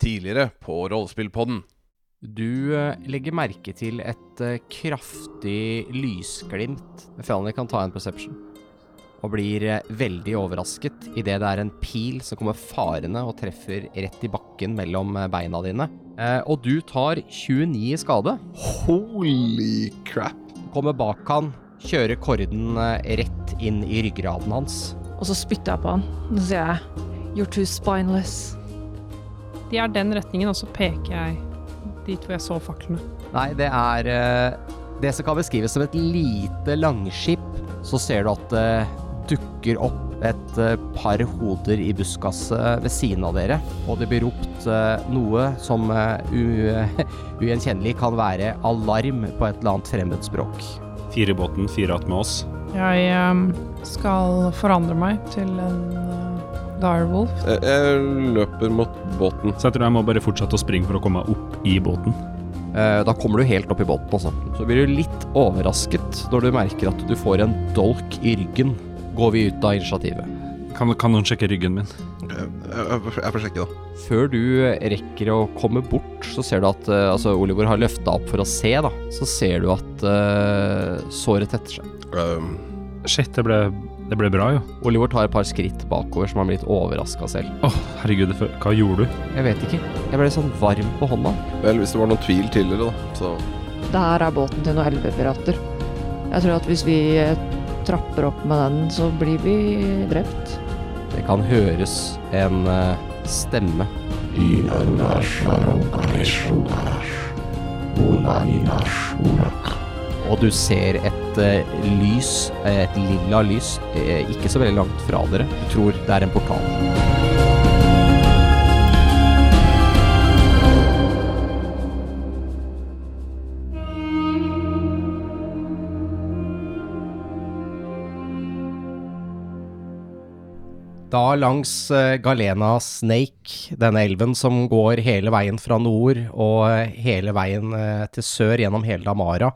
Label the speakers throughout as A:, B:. A: tidligere på Rollespillpodden.
B: Du eh, legger merke til et eh, kraftig lysglimt. Felony kan ta en perception. Og blir eh, veldig overrasket idet det er en pil som kommer farende og treffer rett i bakken mellom eh, beina dine. Eh, og du tar 29 i skade.
C: Holy crap.
B: Kommer bak han, kjører korden eh, rett inn i ryggraden hans.
D: Og så spytter jeg på han. Så sier jeg You're too spineless.
E: De er den retningen, og så peker jeg dit hvor jeg så faklene.
B: Nei, det er eh, det som kan beskrives som et lite langskip. Så ser du at det dukker opp et eh, par hoder i buskaset ved siden av dere. Og det blir ropt eh, noe som eh, u ugjenkjennelig kan være alarm på et eller annet fremmedspråk.
F: Fire i båten, fire att med oss.
E: Jeg ehm, skal forandre meg til en eh, direwolf.
C: Jeg, jeg løper mot båten.
F: Så jeg tror jeg må bare fortsette å springe for å komme meg opp i båten.
B: Eh, Da kommer du helt opp i båten, altså. Så blir du litt overrasket når du merker at du får en dolk i ryggen. Går vi ut av initiativet?
F: Kan, kan noen sjekke ryggen min?
C: Jeg, jeg, jeg får sjekke, da.
B: Før du rekker å komme bort, så ser du at eh, altså Oliver har løfta opp for å se, da. Så ser du at eh, såret tetter seg.
C: Um,
F: Shit, det ble, det ble bra, jo.
B: Oliver tar et par skritt bakover, som han blir litt overraska selv.
F: Åh, herregud, det fø- hva gjorde du?
B: Jeg vet ikke. Jeg ble sånn varm på hånda.
C: vel, hvis det var noen tvil tidligere, da, så
D: Det her er båten til noen elvepirater. Jeg tror at hvis vi eh, trapper opp med den, så blir vi drept.
B: Det kan høres en eh, stemme. Og du ser et eh, lys, eh, et lilla lys, eh, ikke så veldig langt fra dere. Du tror det er en portal. Da langs eh, Galena Snake, denne elven som går hele veien fra nord og eh, hele veien eh, til sør gjennom hele Damara,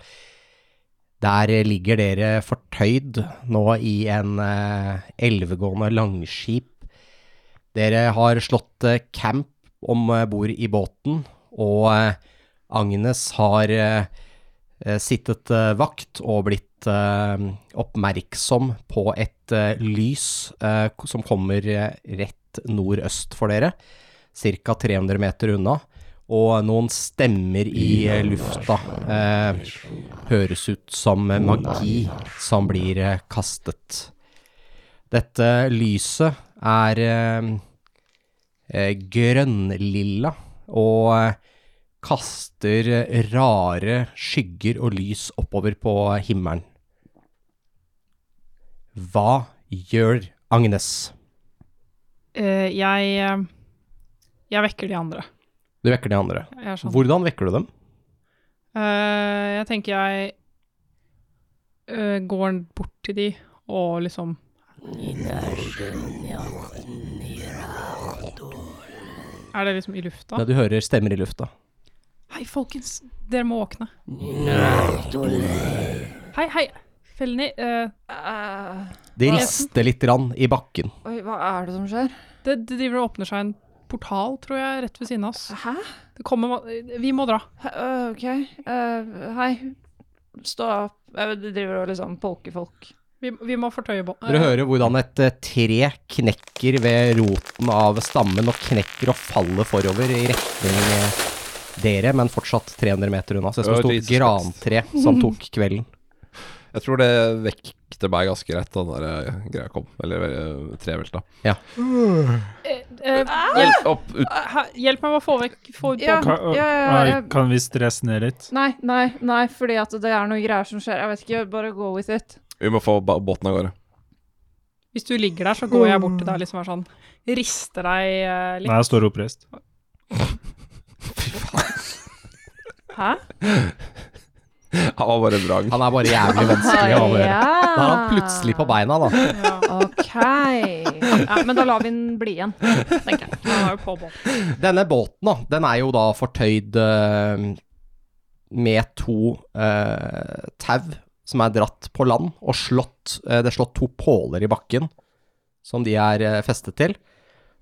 B: der eh, ligger dere fortøyd nå i en eh, elvegående langskip. Dere har slått eh, camp om eh, bord i båten, og eh, Agnes har eh, eh, sittet eh, vakt og blitt eh, oppmerksom på et eh, lys eh, ko- som kommer eh, rett nordøst for dere, ca. 300 meter unna. Og noen stemmer i eh, lufta eh, høres ut som magi som blir eh, kastet. Dette lyset er eh, eh, grønnlilla og eh, kaster eh, rare skygger og lys oppover på himmelen. Hva gjør Agnes?
E: Eh, jeg, eh, jeg vekker de andre.
B: Du vekker de andre.
E: Jeg, er sånn.
B: Hvordan vekker du dem?
E: Eh, jeg tenker jeg eh, går bort til de og liksom Er det liksom i lufta?
B: Ja, du hører stemmer i lufta.
E: Hei, folkens, dere må våkne. Hei, hei, Felny. eh,
B: De
D: Hva?
B: rister litt grann i bakken.
D: Oi, hva er det som skjer?
E: det, det driver og åpner seg en portal, tror jeg, rett ved siden av oss.
D: Hæ?
E: Det kommer ma- Vi må dra.
D: Hæ, øh, OK. Øh, hei. Stå opp. Jeg driver og liksom polker folk.
E: Vi, vi må fortøye båten.
B: Dere hører hvordan et eh, tre knekker ved roten av stammen og knekker og faller forover i retning eh, dere, men fortsatt 300 meter unna. Så det er som
A: Å,
B: et
A: Jesus
B: stort grantre som tok kvelden.
A: Jeg tror det vekte meg ganske greit da den der eh, greia kom. Eller eh, trevelta.
E: Eh,
A: Vel, opp, ut.
E: hjelp meg med å få vekk få ut
D: Ja.
E: båten.
F: Ka-
D: ja, ja,
F: Nei,
D: jeg-
F: Kan vi stresse ned litt?
D: Nei, nei, nei, fordi at det er noe greier som skjer. Jeg vet ikke, bare go with it.
A: Vi må få ba- båten av gårde.
E: Hvis du ligger der, så går jeg bort til deg liksom er sånn Rister deg eh, litt.
F: Nei, jeg står oppreist.
D: Hæ?
A: Han var bare vrang.
B: Han er bare jævlig vanskelig å avhøre. Da er han plutselig på beina, da.
E: Ja,
D: OK. Ja, men da lar vi den bli igjen, tenker jeg.
E: han er jo på båten.
B: Denne båten, da, den er jo da fortøyd eh, med to eh, tau som er dratt på land og slått eh, Det er slått to påler i bakken som de er eh, festet til.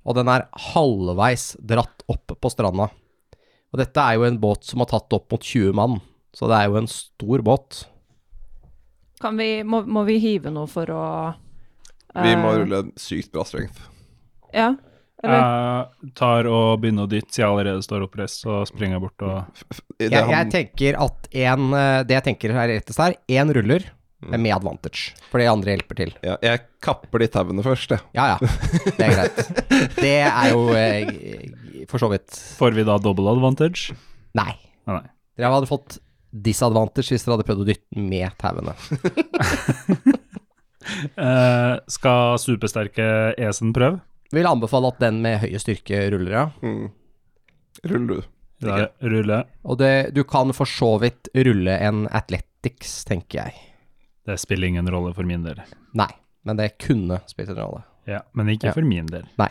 B: og den er halvveis dratt opp på stranda. Og dette er jo en båt som har tatt opp mot 20 mann, så det er jo en stor båt.
D: Kan vi, må, må vi hive noe for å
C: Vi må
D: eh,
C: rulle en sykt bra strength.
D: Ja. Eller?
F: Jeg tar og begynner å dytte, siden jeg allerede står oppreist, så springer jeg bort og
C: Det
B: Jeg, jeg
C: han-
B: tenker at en, eh, det jeg tenker er rettest her, én ruller
C: Mm.
B: med advantage, for de andre hjelper til.
C: ja, jeg kapper de tauene først, jeg.
B: Ja ja, det er greit. Det er jo eh, for så vidt
F: Får vi da double advantage?
B: Nei.
F: Nei, nei.
B: Dere hadde fått disadvantage hvis dere hadde prøvd å dytte den med tauene.
F: Eh, skal supersterke Esen prøve?
B: Vil anbefale at den med høye styrke ruller, ja.
C: Mm. Rull, du.
F: Da ruller jeg.
B: Og det, du kan for så vidt rulle en athletics, tenker jeg.
F: Det spiller ingen rolle for min del.
B: Nei, men det kunne spilt en rolle.
F: Ja, men ikke
B: Ja.
F: for min del.
B: Nei.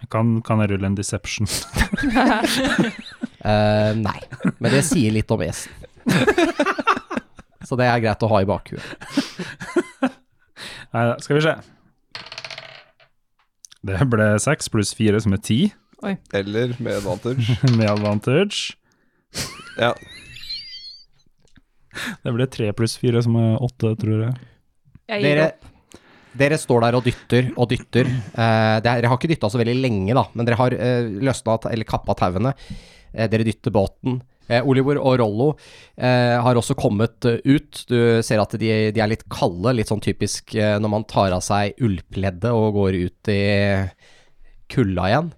F: Jeg Kan, kan jeg rulle en deception?
B: Eh, nei, men det sier litt om esen. Så det er greit å ha i bakhuet.
F: Nei da, skal vi se. Det ble seks pluss fire, som er ti,
C: Eller med advantage.
F: med advantage.
C: ja.
F: Det ble tre pluss fire, som er åtte, tror jeg.
E: Jeg gir
B: Dere,
E: opp.
B: dere står der og dytter og dytter. Eh, det er- dere har ikke dytta så veldig lenge, da, men dere har uh, løsna ta- eller kappa tauene. Eh, dere dytter båten. Eh, Oliver og Rollo eh, har også kommet eh, ut. Du ser at de, de er litt kalde, litt sånn typisk eh, når man tar av seg ullpleddet og går ut i kulda igjen.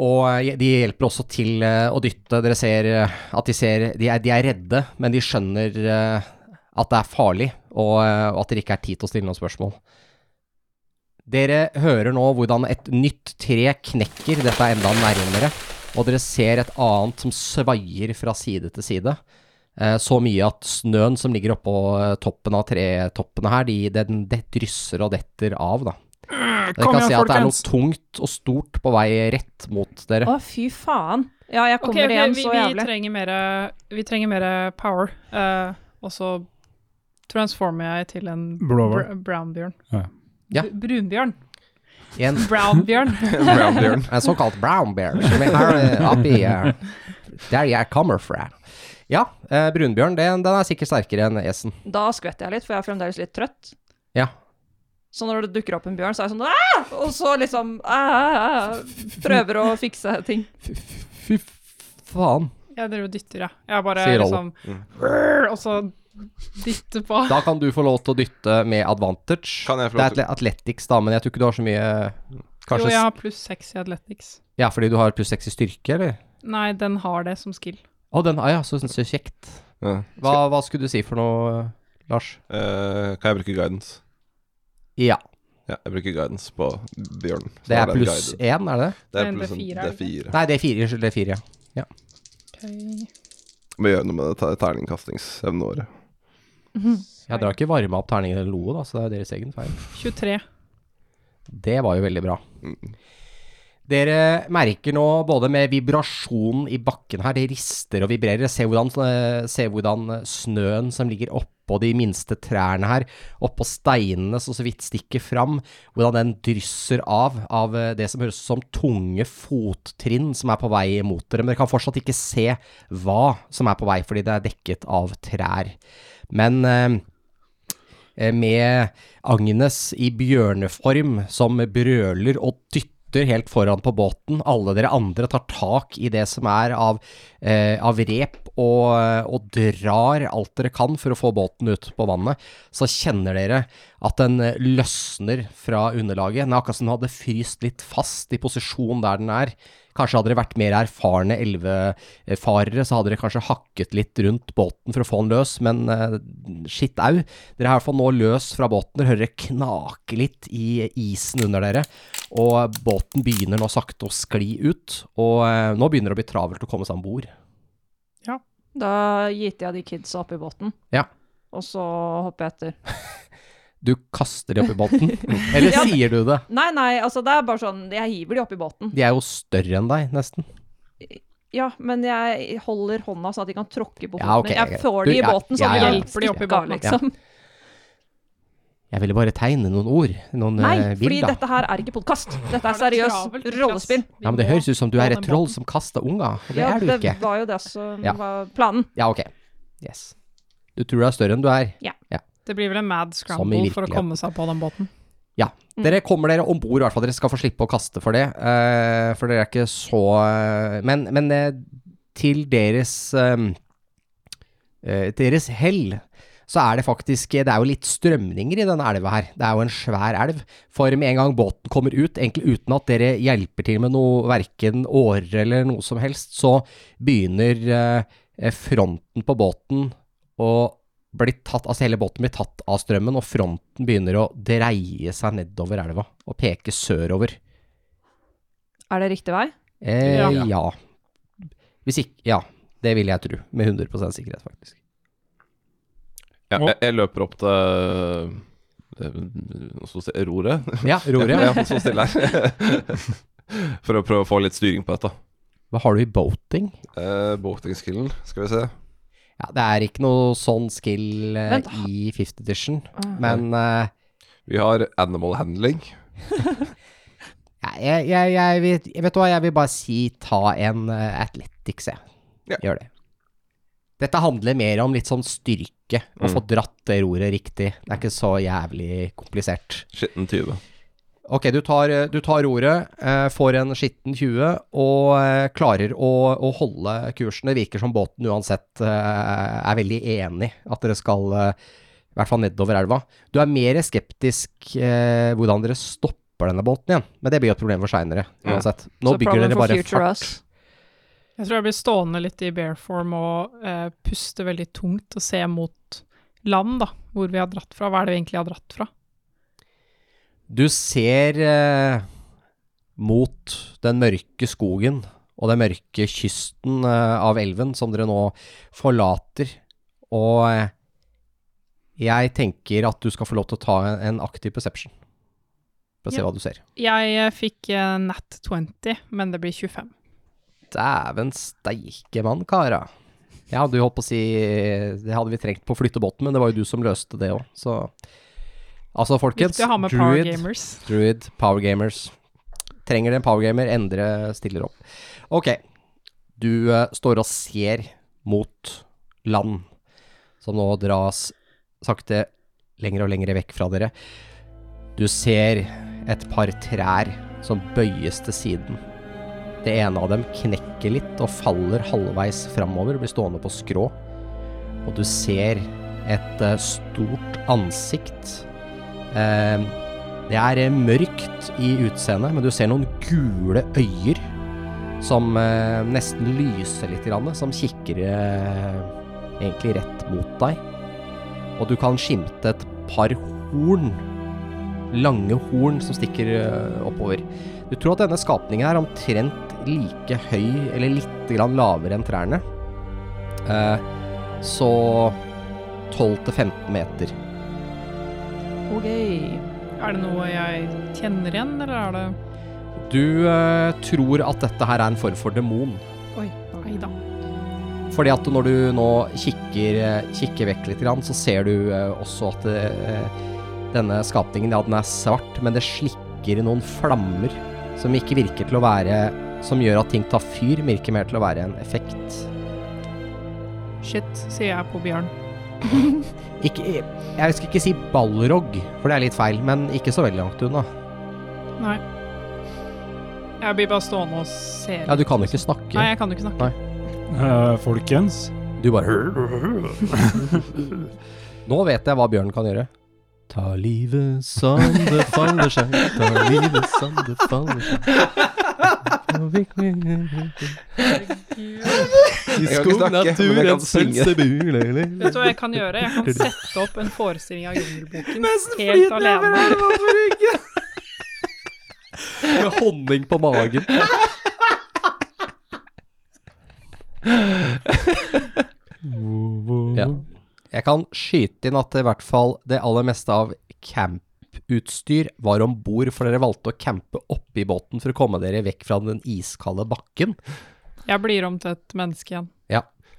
B: Og eh, de hjelper også til eh, å dytte. Dere ser eh, at de ser De er, de er redde, men de skjønner eh, at det er farlig, og, eh, og at det ikke er tid til å stille noen spørsmål. Dere hører nå hvordan et nytt tre knekker. Dette er enda nærmere. Og dere ser et annet som svaier fra side til side. Eh, Så mye at snøen som ligger oppå eh, toppen av tretoppene her, de, den det drysser og detter av, da. Dere
F: Mm, kom
B: kan
F: igjen,
B: se at det er noe
F: folkens!
B: tungt og stort på vei rett mot dere.
D: Å, fy faen. Ja, jeg
E: Ok,
D: kommer
E: ok,
D: igjen
E: vi,
D: så
E: vi,
D: jævlig.
E: trenger mere- vi trenger mer power. eh, og så transformer jeg til en
F: Blåhval.
E: br brownbjørn.
F: Ja.
B: Ja.
E: Br- Brunbjørn.
B: En
E: Brownbjørn.
C: Brownbjørn.
B: En såkalt brown bear, som vi har eh, oppi eh, der jeg kommer fra. Ja, eh, brunbjørn, den, den er sikkert sterkere enn esen.
D: Da skvetter jeg litt, for jeg er fremdeles litt trøtt.
B: Ja.
D: Så når det dukker opp en bjørn, så er jeg sånn Aah! Og så liksom «Æ, æ, æ», Prøver å fikse ting.
B: Fy, fy faen.
E: Jeg driver og dytter, ja. Jeg bare
B: Sier alle. Mm.
E: liksom Og så dytter på.
B: Da kan du få lov til å dytte med advantage.
C: Kan jeg få lov
B: det er atle- athletics, da, men jeg tror ikke du har så mye
E: Jo,
B: Kanskje
E: jeg
B: ja.
E: har pluss seks i athletics.
B: ja, fordi du har pluss seks i styrke, eller?
E: Nei, den har det som skill.
B: Å, den ah, Ja, så, så kjekt.
C: Ja.
B: Hva, hva skulle du si for noe, Lars?
C: Eh, kan jeg bruke guidance?
B: Ja.
C: Ja, jeg bruker guidance på bjørnen. Så
B: Det
C: da
B: er
C: den
B: pluss
C: guided.
B: én, er det det?
C: Det er
E: Men det er
C: pluss en
E: fire,
C: D4.
E: er det
B: Nei, det er fire. Unnskyld, det er fire, ja.
E: Ok.
C: Må gjøre noe med det ter- terningkastingsevnet våre.
B: Jeg drar ikke varma opp terningen eller loe, da, så det er deres egen feil.
E: 23.
B: Det var jo veldig bra. Dere merker nå både med vibrasjonen i bakken her, det rister og vibrerer. Se hvordan, eh, se hvordan snøen som ligger oppå de minste trærne her, oppå steinene som så vidt stikker fram, hvordan den drysser av av eh, det som høres ut som tunge fottrinn som er på vei mot dere. Men dere kan fortsatt ikke se hva som er på vei, fordi det er dekket av trær. Men eh, eh, med Agnes i bjørneform som brøler og dytter helt foran på båten. Alle dere andre tar tak i det som er av, eh, av rep og, og drar alt dere kan for å få båten ut på vannet. Så kjenner dere at den eh, løsner fra underlaget. Den er akkurat som den hadde fryst litt fast i posisjon der den er. Kanskje hadde dere vært mer erfarne elvefarere, så hadde dere kanskje hakket litt rundt båten for å få den løs, men eh, skitt au. Dere er i hvert fall nå løs fra båten. Dere hører det knake litt i isen under dere, og båten begynner nå sakte å skli ut. Og eh, nå begynner det å bli travelt å komme seg om bord.
D: Da giter jeg de kidsa opp i båten.
B: Ja.
D: Og så hopper jeg etter.
B: Du kaster de oppi båten, eller
D: Ja, men-
B: sier du det?
D: Nei, nei, altså det er bare sånn Jeg hiver de opp i båten.
B: De er jo større enn deg, nesten.
D: Ja, men jeg holder hånda sånn at de kan tråkke på foten.
B: Ja, ok,
D: min.
B: ok.
D: Jeg får
B: Du,
D: de i
B: ja,
D: båten,
B: ja,
D: sånn at
B: ja,
D: de
B: ja.
D: hjelper de opp i båten,
B: Ja.
D: liksom.
B: Jeg ville bare tegne noen ord. Noen
G: Nei,
B: eh,
G: fordi
B: bilder.
G: dette her er ikke podkast. Dette er seriøst rollespill.
B: Ja, men Det høres ut som du er et troll som kaster unger, og det
G: Ja,
B: er du ikke.
G: det var jo det som
B: Ja.
G: var planen.
B: Ja, ok. Yes. Du tror du er større enn du er.
E: Det blir vel en mad
B: Som i
E: scramble for å
B: virkeligheten.
E: komme seg på den båten.
B: Dere kommer dere om bord, i hvert fall. Dere skal få slippe å kaste for det. eh, for dere er ikke så eh, Men, men eh, til deres eh, eh, Deres hell så er det faktisk Det er jo litt strømninger i denne elva her. Det er jo en svær elv. For med en gang båten kommer ut, egentlig uten at dere hjelper til med noe, verken årer eller noe som helst, så begynner eh, fronten på båten å blir tatt, altså hele båten blir tatt av strømmen, og fronten begynner å dreie seg nedover elva og peke sørover.
G: Er det riktig vei?
B: Eh, ja.
E: Ja.
B: Hvis ikke Ja, det vil jeg tro. Med 100 sikkerhet, faktisk.
C: Ja, jeg, jeg løper opp til eh, noe som heter roret.
B: Ja, roret.
C: Ja, så stille her. For å prøve å få litt styring på dette.
B: Hva har du i boating?
C: Uh, Båtingskillen, skal vi se.
B: Ja, det er ikke noe sånn skill eh,
G: Vent.
B: i fifth edition, men eh,
C: Vi har animal handling.
B: jeg, jeg, jeg, vet, jeg vet hva, jeg vil bare si ta en eh, athletics, jeg.
C: Ja.
B: Gjør det. Dette handler mer om litt sånn styrke, å få dratt det roret riktig. Det er ikke så jævlig komplisert.
C: Skitten 20.
B: Ok, du tar, du tar ordet, eh, får en skitten 20 og eh, klarer å, å holde kursen. Det virker som båten uansett eh, er veldig enig at dere skal, eh, i hvert fall nedover elva. Du er mer skeptisk eh, hvordan dere stopper denne båten igjen, men det blir jo et problem for seinere uansett. Nå
G: Så
B: bygger
G: problem
B: dere
G: for
B: bare
G: future
B: fart.
G: us.
E: Jeg tror jeg blir stående litt i bear form og eh, puste veldig tungt og se mot land, da. Hvor vi har dratt fra. Hva er det vi egentlig har dratt fra?
B: Du ser eh, mot den mørke skogen og den mørke kysten eh, av elven som dere nå forlater. Og eh, jeg tenker at du skal få lov til å ta en, en aktiv perception. For å se
E: Ja.
B: hva du ser.
E: Jeg eh, fikk eh, nat 20, men det blir 25.
B: Dæven steike mann, kara. Jeg hadde jo holdt på å si Det hadde vi trengt på flyttebåten, men det var jo du som løste det òg, så Altså, folkens.
E: Viktig å ha med power gamers.
B: Druid, Power Gamers. Trenger det en Power Gamer, Endre stiller opp. Ok, du eh, står og ser mot land, som nå dras sakte lenger og lenger vekk fra dere. Du ser et par trær som bøyes til siden. Det ene av dem knekker litt og faller halvveis framover, blir stående på skrå. Og du ser et eh, stort ansikt. Eh, det er eh, mørkt i utseendet, men du ser noen gule øyer som eh, nesten lyser litt, grann, som kikker eh, egentlig rett mot deg. Og du kan skimte et par horn, lange horn som stikker eh, oppover. Du tror at denne skapningen er omtrent like høy, eller litt grann lavere enn trærne. Eh, så 12-15 meter.
G: Ok.
E: Er det noe jeg kjenner igjen, eller er det
B: Du eh, tror at dette her er en form for demon.
E: Oi, nei da.
B: Fordi at når du nå kikker, eh, kikker vekk litt, grann, så ser du eh, også at eh, denne skapningen ja, den er svart, men det slikker i noen flammer som ikke virker til å være Som gjør at ting tar fyr, men virker mer til å være en effekt.
E: Shit, sier jeg på Bjørn.
B: Ikke, jeg skal ikke si ballrog, for det er litt feil, men ikke så veldig langt unna.
E: Nei. Jeg blir bare stående og se.
B: Ja, du
E: litt.
B: kan jo ikke snakke.
E: Nei, jeg kan jo ikke snakke.
F: Eh, folkens,
B: Du bare Nå vet jeg hva bjørnen kan gjøre. Ta livet som det faller seg, ta livet som det faller seg. I
C: Jeg kan ikke snakke, men jeg kan synge.
B: pølsebu
E: Vet du hva jeg kan gjøre? Jeg kan sette opp en forestilling av Jungelboken helt alene.
B: Med honning på magen. Ja. Jeg kan skyte inn at i hvert fall det aller meste av camputstyr var om bord, for dere valgte å campe oppi båten for å komme dere vekk fra den iskalde bakken.
E: Jeg blir om til et menneske igjen.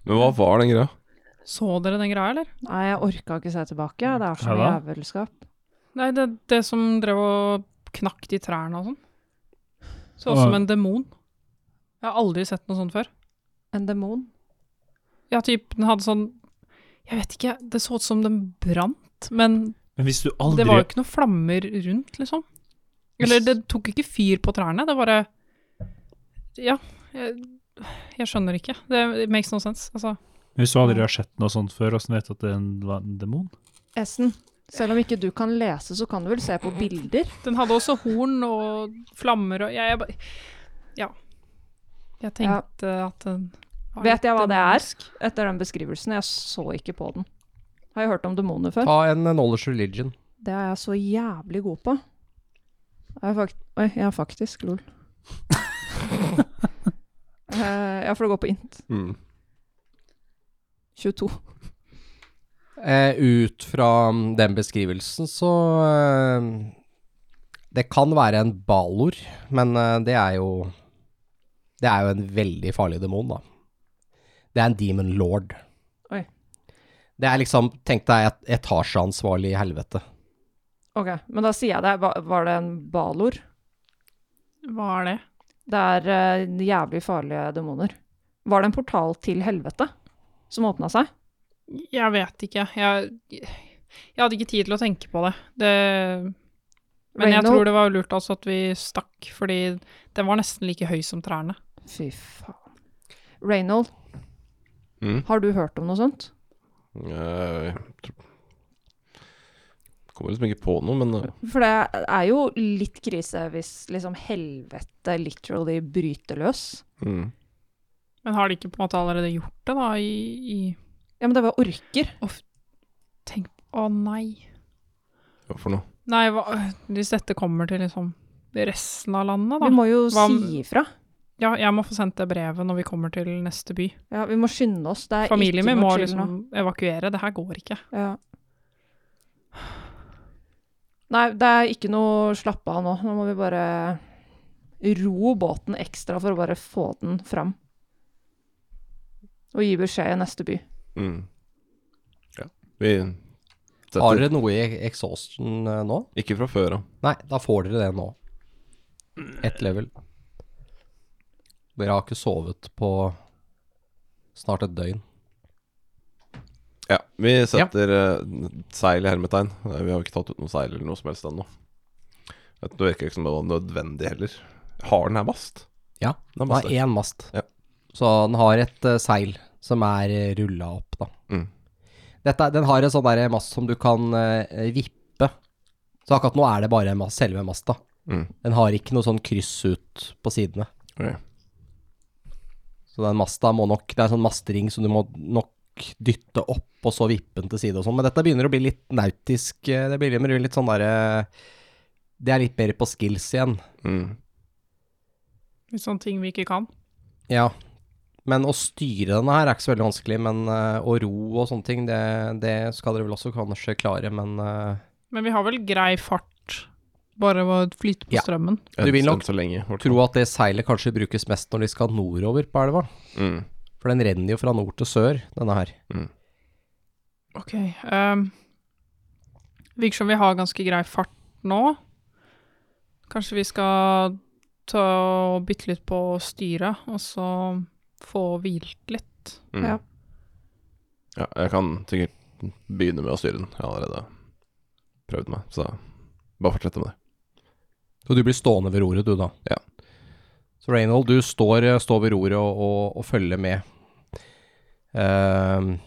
C: Men hva var den greia?
E: Så dere den greia, eller?
D: Nei, jeg orka ikke se tilbake. Det er
F: Ja
D: så mye
F: da.
D: jævelskap.
E: Nei, det, det som drev og knakk de trærne og sånn. Så ut som en demon. Jeg har aldri sett noe sånt før.
G: En demon.
E: Ja, typ, den hadde sånn Jeg vet ikke, det så ut som den brant, men
H: Men hvis du
E: det
H: aldri
E: var jo ikke noen flammer rundt, liksom. Eller det tok ikke fyr på trærne, det bare Ja, jeg, jeg skjønner ikke. Det it makes no sense. Altså,
F: Hvis du aldri har sett noe sånt før, åssen vet du at det er en, var en demon?
G: Essen, selv om ikke du kan lese, så kan du vel se på bilder?
E: den hadde også horn og flammer og Jeg, jeg bare Ja. Jeg
G: Ja.
E: tenkte at den var litt
G: Vet jeg hva det er?
E: demonisk.
G: Etter den beskrivelsen. Jeg så ikke på den. Har jeg hørt om demoner før?
B: Ta en eh, knowledge religion.
G: Det er jeg så jævlig god på. Jeg er fakt Oi, jeg er faktisk lol. Eh, ja, for det går på int.
A: Mm.
G: 22.
B: Eh, ut fra mm, den beskrivelsen så eh, Det kan være en balor, men eh, det er jo Det er jo en veldig farlig demon, da. Det er en demon lord.
G: Oi.
B: Det er liksom Tenk deg et etasjeansvarlig i helvete.
G: Ok, men da sier jeg det. Hva- Var det en balor?
E: Hva er det?
G: Det er eh, jævlig farlige demoner. Var det en portal til helvete som åpna seg?
E: Jeg vet ikke. Jeg, jeg hadde ikke tid til å tenke på det. det men jeg
G: Reynold?
E: tror det var lurt altså at vi stakk, fordi den var nesten like høy som trærne.
G: Fy faen. Reynold,
A: Mm.
G: har du hørt om noe sånt?
A: Eh, tro- Kommer liksom ikke på noe, men eh,
G: For det er jo litt krise hvis liksom helvete literally bryter løs.
A: mm.
E: Men har de ikke på en måte allerede gjort det, da? I, i
G: Ja, men det var orker.
E: Tenk Å, nei.
A: Hva for noe?
E: Nei, hva, hvis dette kommer til liksom resten av landet,
G: Vi
E: da.
G: må jo
E: Hva om-
G: si ifra.
E: Ja, jeg må få sendt det brevet når vi kommer til neste by.
G: Ja, vi må skynde oss. Det er
E: Familien
G: ikke
E: min må
G: noe chill nå.
E: liksom evakuere. Det her går ikke.
G: Ja. Nei, det er ikke noe slapp av nå. Nå må vi bare ro båten ekstra for å bare få den fram. Og gi beskjed i neste by.
A: Mm. Ja. Vi
B: Har
A: setter
B: dere noe i exhausten eh, nå?
A: Ikke fra før av.
B: Nei, da får dere det nå. Ett level. Dere har ikke sovet på snart et døgn.
A: Ja, vi setter eh, seil i hermetegn. Eh, Vi har jo ikke tatt ut noe seil eller noe som helst ennå. Det virker ikke som det var nødvendig heller. Har den her mast?
B: Ja,
A: Den er
B: den har
A: mast. der.
B: én mast.
A: Ja.
B: Så den har et eh, seil som er rulla opp, da.
A: Mm.
B: Dette, den har en sånn der mast som du kan eh, vippe. Så akkurat nå er det bare mas selve masta.
A: Mm.
B: Den har ikke noe sånn kryss ut på sidene.
A: Ok.
B: Så den masta må nok Det er en sånn mastring som du må nok dytte opp, og så vippe den til side og sånn. Men dette begynner å bli litt nautisk. eh, Det blir det blir litt sånn derre Det er litt mer på skills igjen.
A: Mm.
E: Litt sånne ting vi ikke kan.
B: Ja. Men å styre denne her er ikke så veldig vanskelig, men eh, å ro og sånne ting, det, det skal dere vel også kanskje klare, men eh,
E: Men vi har vel grei fart, bare å flyte på
B: Ja.
E: strømmen.
B: Du vil
A: Enn-
B: nok
A: enn så lenge. i hvert
B: tro
A: fall.
B: at det seilet kanskje brukes mest når de skal nordover på elva.
A: Mm.
B: For den renner jo fra nord til sør, denne her.
E: Ok. ehm, virker som vi har ganske grei fart nå. Kanskje vi skal ta og bytte litt på styret, og så få hvilt litt.
A: Mm.
G: Ja.
A: ja. Jeg kan sikkert begynne med å styre den. Jeg har allerede prøvd meg, så bare fortsette med det.
B: Så du blir stående ved roret, du da.
A: Ja.
B: Så Reynold, du står, eh, står ved roret og, og, og følger med. Ehm,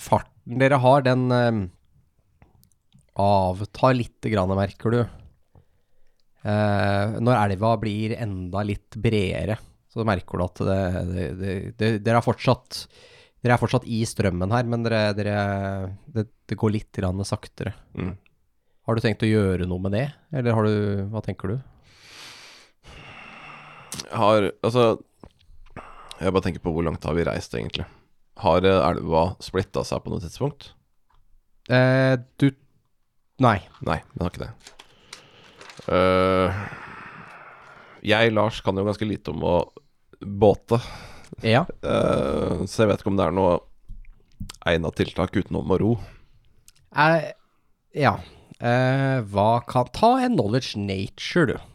B: farten dere har, den ehm, avtar lite grann, merker du. Eh, når elva blir enda litt bredere, så merker du at det, det, det, det, dere, er fortsatt, dere er fortsatt i strømmen her, men dere, dere, det, det går litt grann saktere.
A: Mm.
B: Har du tenkt å gjøre noe med det, eller har du, hva tenker du?
A: Jeg har Altså, jeg bare tenker på hvor langt har vi reist, egentlig. Har eh, elva splitta seg på noe tidspunkt?
B: Eh, du Nei.
A: Nei, den har ikke det. Eh, jeg, Lars, kan jo ganske lite om å båte,
B: Ja.
A: eh, så jeg vet ikke om det er noe egna tiltak utenom å ro.
B: Eh, ja. Eh, hva kan Ta en knowledge nature, du.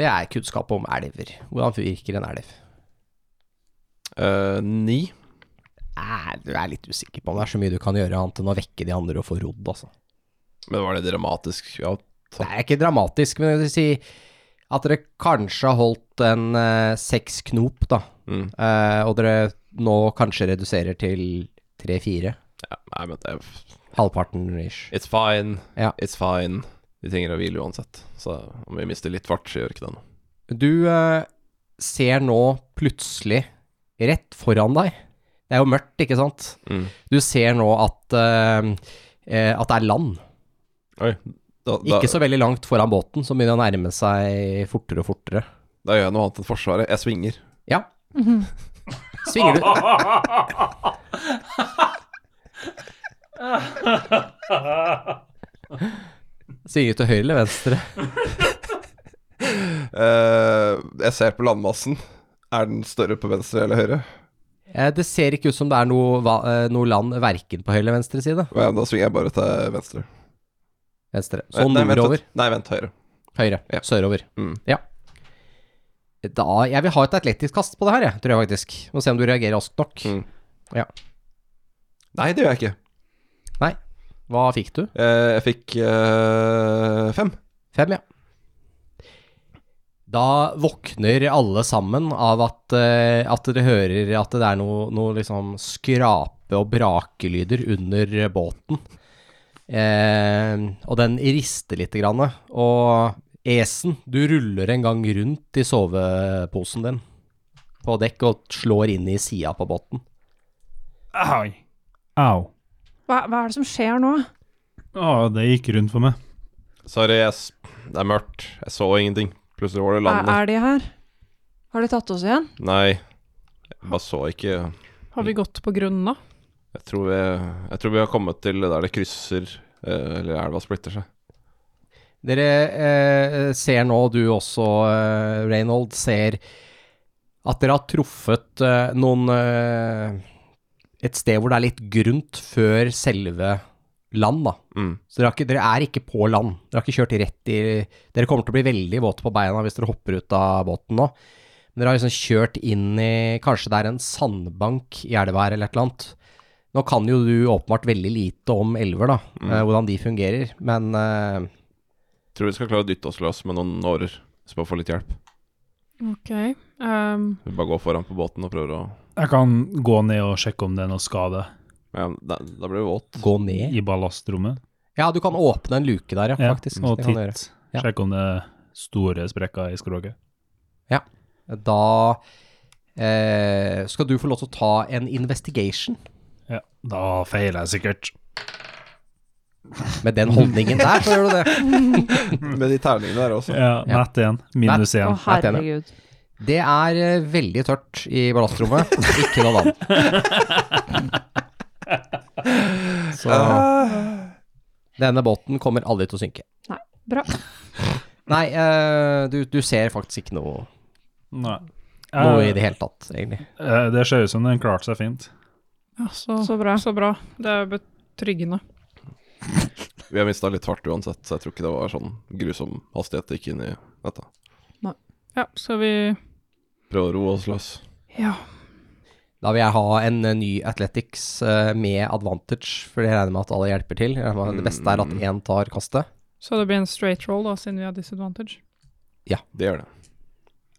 B: Det er kunnskap om elver. Hvordan virker en elv?
A: Eh, ni.
B: Eh, du er litt usikker på om det er så mye du kan gjøre annet enn å vekke de andre og få rodd, altså.
A: Men var det dramatisk? Ja,
B: Det er ikke dramatisk, men jeg vil si at dere kanskje har holdt en eh, seks knop, da.
A: Mm.
B: Eh, og dere nå kanskje reduserer til tre-fire.
A: ja nei, men det er
B: Halvparten ish.
A: It's fine.
B: Ja.
A: It's fine. Vi trenger å hvile uansett. Så om vi mister litt fart, så gjør ikke det noe.
B: Du eh, ser nå plutselig rett foran deg. Det er jo mørkt, ikke sant?
A: Mm.
B: Du ser nå at, eh, eh, at det er land.
A: Oi. Da, da,
B: Ikke så veldig langt foran båten, som begynner å nærme seg fortere og fortere.
A: da gjør jeg noe annet enn Forsvaret. Jeg svinger.
B: Ja. Svinger du Svinger du til høyre eller venstre?
A: Eh, jeg ser på landmassen. Er den større på venstre eller høyre?
B: Eh, Det ser ikke ut som det er noe, va- eh, noe land verken på høyre eller venstre side.
A: Ja, da svinger jeg bare til venstre.
B: Venstre. Så
A: Nei, vent
B: nordover.
A: litt. Nei, vent, høyre.
B: Høyre.
A: Ja.
B: Sørover.
A: Mm.
B: Ja. Da, jeg vil ha et atletisk kast på det her, jeg, tror jeg faktisk. Må se om du reagerer raskt nok.
A: Mm.
B: Ja.
A: Nei, det gjør jeg ikke.
B: Nei. Hva fikk du?
A: Eh, jeg fikk eh, fem.
B: Fem, ja. Da våkner alle sammen av at, eh, at dere hører at det er noe, noe liksom skrape- og brakelyder under eh, båten. Eh, og den rister litt. Grann, og Esen, du ruller en gang rundt i soveposen din på dekk og slår inn i sida på båten.
F: Au. Au.
G: Hva, hva er det som skjer nå?
F: Å, det gikk rundt for meg.
A: Sorry, jeg s det er mørkt. Jeg så ingenting. Plutselig var det
G: Er,
A: landet.
G: er de her? Har de tatt oss igjen?
A: Nei, jeg bare så ikke Jeg
E: Har vi gått på grunna?
A: tror vi, jeg tror vi har kommet til der det krysser eh, Eller elva splitter seg.
B: Dere eh, ser nå, du også, eh, Reynold, ser at dere har truffet eh, noen eh, Et sted hvor det er litt grunt før selve land, da.
A: Mm.
B: Så dere, har ikke, dere er ikke på land. Dere har ikke kjørt rett i Dere kommer til å bli veldig våte på beina hvis dere hopper ut av båten nå. Men dere har liksom kjørt inn i Kanskje det er en sandbank i elva her, eller et eller annet. Nå kan jo du åpenbart veldig lite om elver, da. eh, hvordan de fungerer. Men eh,
A: Tror vi skal klare å dytte oss løs med noen årer. Så bare få litt hjelp.
E: Ok. ehm,
A: Vi bare går foran på båten og prøver å
F: Jeg kan gå ned og sjekke om det er noe skade
A: ja, da, da blir vi våt.
B: gå ned
F: i ballastrommet.
B: Ja, du kan åpne en luke der, ja,
F: Ja,
B: faktisk.
F: og
B: det kan du
F: titt.
B: Ja.
F: Sjekke om det er store sprekker i skroget.
B: gjøre. Da eh, skal du få lov til å ta en investigation.
F: Ja, da feiler jeg sikkert.
B: Med den holdningen der, så gjør du det.
A: Med de terningene der også.
F: Ja,
B: Ja.
F: Nett igjen. Minus én.
G: Å,
B: jeg tjener.
G: herregud.
B: Det er eh, veldig tørt i ballastrommet. Ikke noe vann. Så denne båten kommer aldri til å synke.
G: Nei, bra.
B: Nei, eh, du, du ser faktisk ikke noe,
F: Nei.
B: noe i
F: Eh,
B: det hele tatt, egentlig.
F: eh, det ser ut som den klarte seg fint.
E: ja, så,
G: Så bra.
E: så bra. Det er betryggende.
A: Vi har mista litt fart uansett, så jeg tror ikke det var sånn grusom hastighet det gikk inn i dette.
E: Ja, skal vi
A: Prøve å roe oss løs.
E: Ja.
B: Da vil jeg ha en eh, ny Athletics eh, med advantage, for jeg regner med at alle hjelper til. Jeg regner med at Det beste er at én tar kastet.
E: Så det blir en straight roll, da, siden vi har disadvantage.
A: Det gjør det.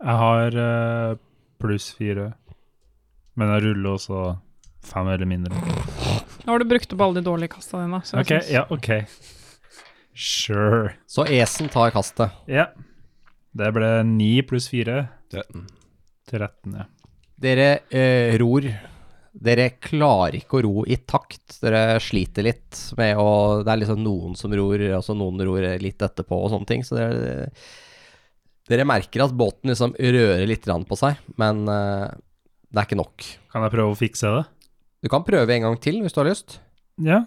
F: Jeg har eh, pluss fire, men jeg ruller også fem eller mindre.
E: Nå har du brukt opp alle de dårlige kasta dine. Så jeg
F: OK,
E: synes-
F: ja, OK. Sure.
B: Så Esen tar kastet.
F: Ja. Det ble ni pluss fire.
A: 13.
F: 13, ja.
B: Dere eh, ror. Dere klarer ikke å ro i takt. Dere sliter litt med å Det er liksom noen som ror, og så noen ror litt etterpå og sånne ting. Så dere, dere merker at båten liksom rører litt grann på seg, men eh, det er ikke nok.
F: Kan jeg prøve å fikse det?
B: Du kan prøve en gang til hvis du har lyst.
F: Ja.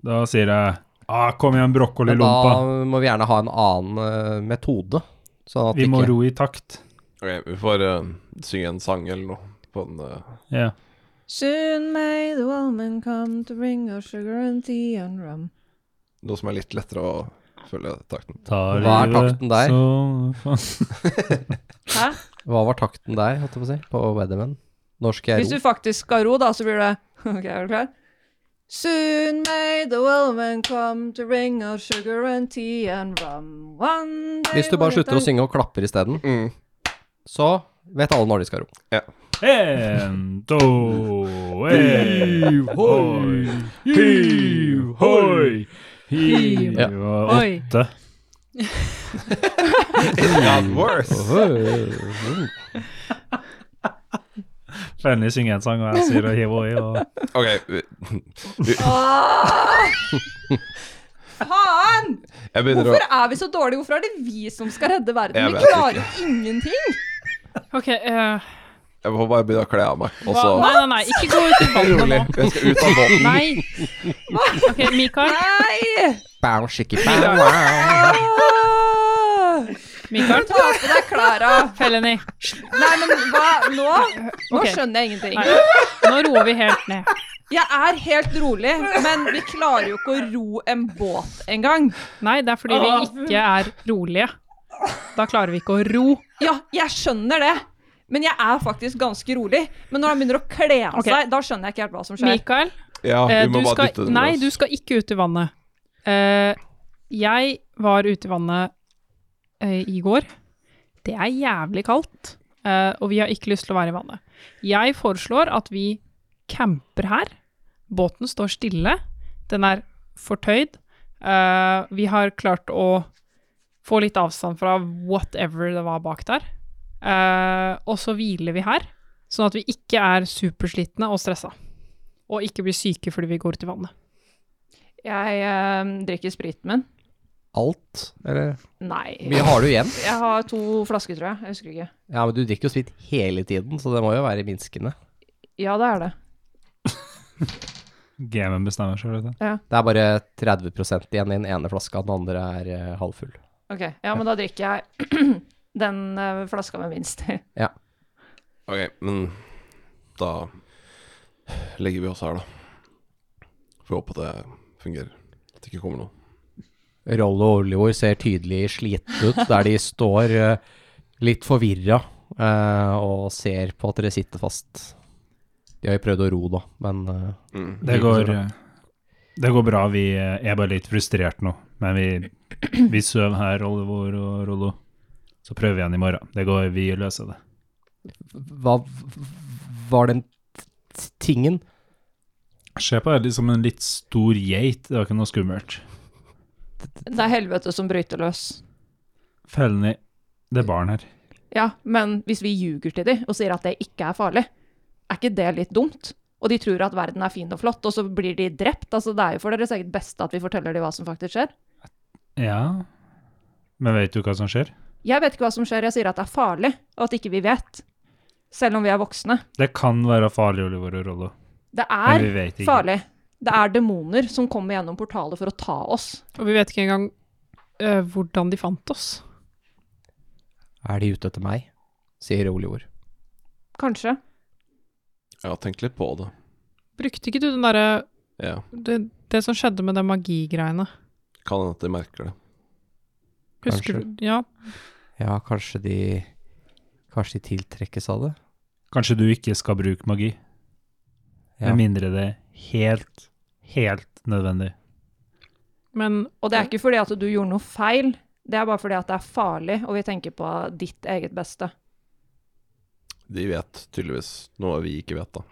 F: Da sier jeg ah, Kom igjen,
B: Men da
F: brokkolilompa.
B: må vi gjerne ha en annen eh, metode. Sånn at
F: Vi må
B: ikke,
F: ro i takt.
A: Ok, vi får eh, synge en sang eller noe. På en, eh,
F: Ja.
G: Soon may the woman come to bring us sugar and tea and rum.
A: Noe som er litt lettere å følge takten.
F: Tar
B: Hva er
F: livet,
B: takten der?
F: så faen.
G: Hæ?
B: Hva var takten der, holdt jeg på å si, på Weatherman? Norsk er
G: Hvis du
B: ro. faktisk
G: faktisk skal ro, da, så blir det Ok, er du klar? Soon may the wellman come to ring of sugar and tea and rum. One day
B: Hvis du bare
G: when it
B: slutter å
G: done-
B: synge og klapper isteden,
A: Mm.
B: så vet alle når de skal ro.
F: En, to, en, hoi, hiv, hoi, hiv,
B: Ja.
F: og
E: Oi.
F: åtte.
A: It got worse.
F: Fanny synger en sang, og jeg sier hiv, hoi, og
A: Ok, vi-
G: Ah! Faen!
A: jeg begynner å
G: Hvorfor er vi så dårlige? Hvorfor er det vi som skal redde
A: Jeg
G: verden? Vi
A: vet
G: klarer jo ingenting!
E: OK eh,
A: Jeg får bare begynne å kle av meg. Og
E: hva? Nei,
A: så
E: nei, nei, ikke gå ut i vannet
A: Rolig.
E: nå.
A: Jeg skal ut av båten.
E: Nei. OK, Mikael.
G: Nei!
B: Bow, shiki, bow, wow.
G: Ah!
E: Mikael.
G: Ta på deg klærne.
E: Felony.
G: Nei, men hva nå? Nå
E: Ok.
G: skjønner jeg ingenting.
E: Nei. Nå roer vi helt ned.
G: Jeg er helt rolig, men vi klarer jo ikke å ro en båt engang.
E: Nei, det er fordi vi ikke er rolige. Da klarer vi ikke å ro.
G: Ja, jeg skjønner det, men jeg er faktisk ganske rolig. Men når han begynner å kle av
E: Ok.
G: seg, da skjønner jeg ikke helt hva som skjer.
E: Mikael,
A: Ja, vi
E: eh,
A: må
E: du
A: bare dytte
E: skal,
A: den
E: nei,
A: løs.
E: du skal ikke ut i vannet. Eh, jeg var ute i vannet eh, i går. Det er jævlig kaldt, eh, og vi har ikke lyst til å være i vannet. Jeg foreslår at vi camper her. Båten står stille. Den er fortøyd. Eh, vi har klart å få litt avstand fra whatever det var bak der. Eh, og så hviler vi her, sånn at vi ikke er superslitne og stressa. Og ikke blir syke fordi vi går ut i vannet.
G: Jeg eh, drikker spriten min.
B: Alt? Eller
G: Nei.
B: Hvor mye har du igjen?
G: Jeg har to flasker, tror jeg. Jeg husker ikke.
B: Ja, men du drikker jo sprit hele tiden, så det må jo være minskende.
G: Ja, det er det.
F: gamen bestemmer seg, vet du.
B: Det er bare 30 igjen i den ene flaska, den andre er eh, halvfull.
G: Ok, ja, men da drikker jeg den eh, flaska med minst.
A: Ok, men da legger vi oss her, da. Får håpe det fungerer. At det ikke kommer noen.
B: Rollo og Oljord ser tydelig slitne ut, der de står eh, litt forvirra eh, og ser på at dere sitter fast. De har jo prøvd å ro, da, men eh,
F: Det går, det går bra. Vi er bare litt frustrert nå. Men vi, vi sover her, Oliver og Rollo. Så prøver vi igjen i morgen. Det går, vi løser det.
B: hva var den t- tingen?
F: Se på det som en litt stor geit. Det var ikke noe skummelt.
G: Det er helvete som bryter løs.
F: Felny, det er barn her.
G: Ja, men hvis vi ljuger til dem og sier at det ikke er farlig, er ikke det litt dumt? Og de tror at verden er fin og flott, og så blir de drept. Altså, det er jo for deres eget beste at vi forteller dem hva som faktisk skjer.
F: Ja. Men vet du hva som skjer?
G: Jeg vet ikke hva som skjer, jeg sier at det er farlig, og at ikke vi vet. Selv om vi er voksne.
F: Det kan være farlig, Oliver og Rollo.
G: Det
F: Men
G: er
F: vi vet ikke.
G: farlig. Det er demoner som kommer gjennom portalet for å ta oss.
E: Og vi vet ikke engang eh, hvordan de fant oss.
B: Er de ute etter meg? sier Oljord.
G: Kanskje.
A: Jeg har tenkt litt på det.
E: Brukte ikke du den derre
A: Ja,
E: det, det som skjedde med de magigreiene?
A: Kan hende at de merker det.
E: Husker
B: Kanskje.
E: du? Ja.
B: Ja, kanskje de Kanskje de tiltrekkes av det?
F: Kanskje du ikke skal bruke magi.
B: Ja.
F: Med mindre det er helt, helt nødvendig.
E: Men
G: Og det er ikke fordi at du gjorde noe feil, det er bare fordi at det er farlig, og vi tenker på ditt eget beste.
A: De vet tydeligvis noe vi ikke vet, da.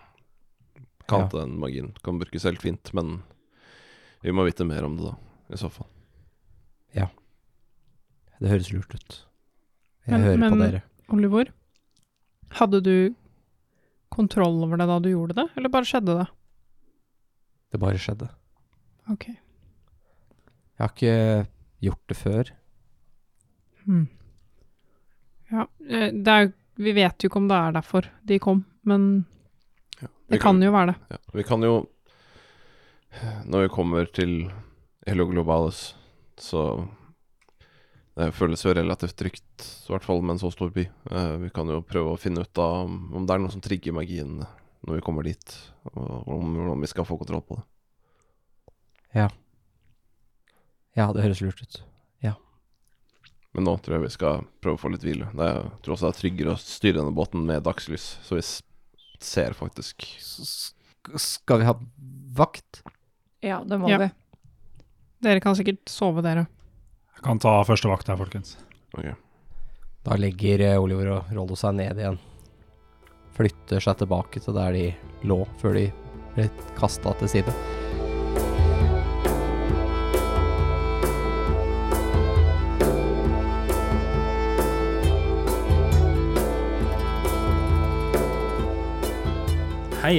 A: Kan
B: Ja.
A: hende den magien kan brukes helt fint, men vi må vite mer om det, da. I så fall.
B: Det høres lurt ut. Jeg
E: Men-
B: hører på
E: men-
B: dere.
E: Oliver, hadde du kontroll over det da du gjorde det, eller bare skjedde det?
B: Det bare skjedde.
E: Ok.
B: Jeg har ikke gjort det før.
E: Ja, eh, det er, vi vet jo ikke om det er derfor de kom, men
A: Ja.
E: det kan jo være det.
A: Ja. Vi kan jo Når vi kommer til Hello Globalus, så Det føles jo relativt trygt, i hvert fall med en så stor by. Eh, Vi kan jo prøve å finne ut av om om det er noe som trigger magien når vi kommer dit, og om hvordan vi skal få kontroll på det.
B: Ja, det høres lurt ut.
A: Men nå tror jeg vi skal prøve å få litt hvile. Det er, jeg tror også det er tryggere å styre denne båten med dagslys, så vi s- ser faktisk
B: S- sk- Skal vi ha vakt?
G: Ja, det må
E: Ja.
G: vi.
E: Dere kan sikkert sove, dere.
F: Jeg kan ta første vakt her, folkens.
A: Ok.
B: Da legger eh, Oliver og Rollo seg ned igjen. Flytter seg tilbake til der de lå før de ble kasta til side.
H: Hei,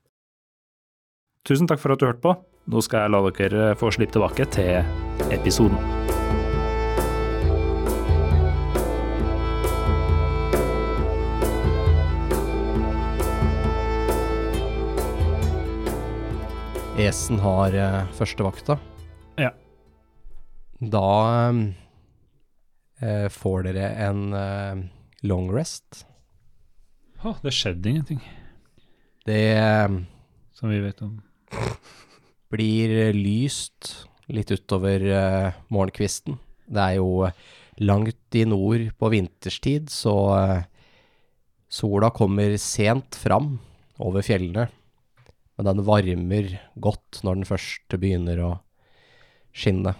H: Tusen takk for at du hørte på. Nå skal jeg la
F: eh,
H: dere få slippe tilbake til episoden.
B: Esen har eh, første vakta.
F: Ja.
B: Da eh, får dere en eh, long rest.
F: Å, det skjedde ingenting,
B: Det eh,
F: som vi vet om.
B: blir eh, lyst litt utover eh, morgenkvisten. Det er jo eh, langt i nord på vinterstid, så eh, sola kommer sent fram over fjellene. Men den varmer godt når den først begynner å skinne.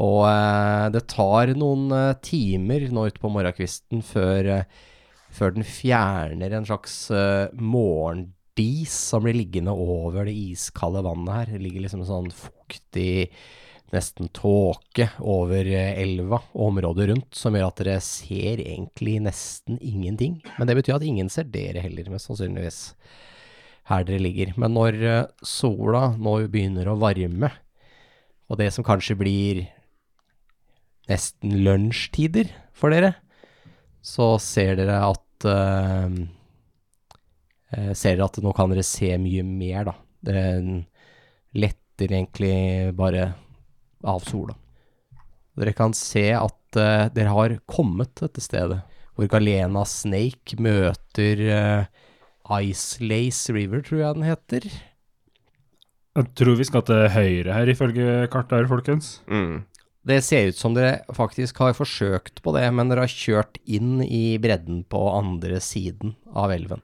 B: Og eh, det tar noen eh, timer nå ute på morgenkvisten før, eh, før den fjerner en slags eh, morgen dis som blir liggende over det iskalde vannet her. Det ligger liksom en sånn fuktig, nesten tåke over eh, elva og området rundt, som gjør at dere ser egentlig nesten ingenting. Men det betyr at ingen ser dere heller, mest sannsynligvis, her dere ligger. Men når eh, sola nå begynner å varme, og det som kanskje blir nesten lunsjtider for dere, så ser dere at eh, Eh, ser dere at nå kan dere se mye mer, da. Dere letter egentlig bare av sola. Dere kan se at eh, dere har kommet til dette stedet, hvor Galena Snake møter eh, Ice Lace River, tror jeg den heter.
F: Jeg tror vi skal til høyre her, ifølge kartet her, folkens.
A: mm.
B: Det ser ut som dere faktisk har forsøkt på det, men dere har kjørt inn i bredden på andre siden av elven.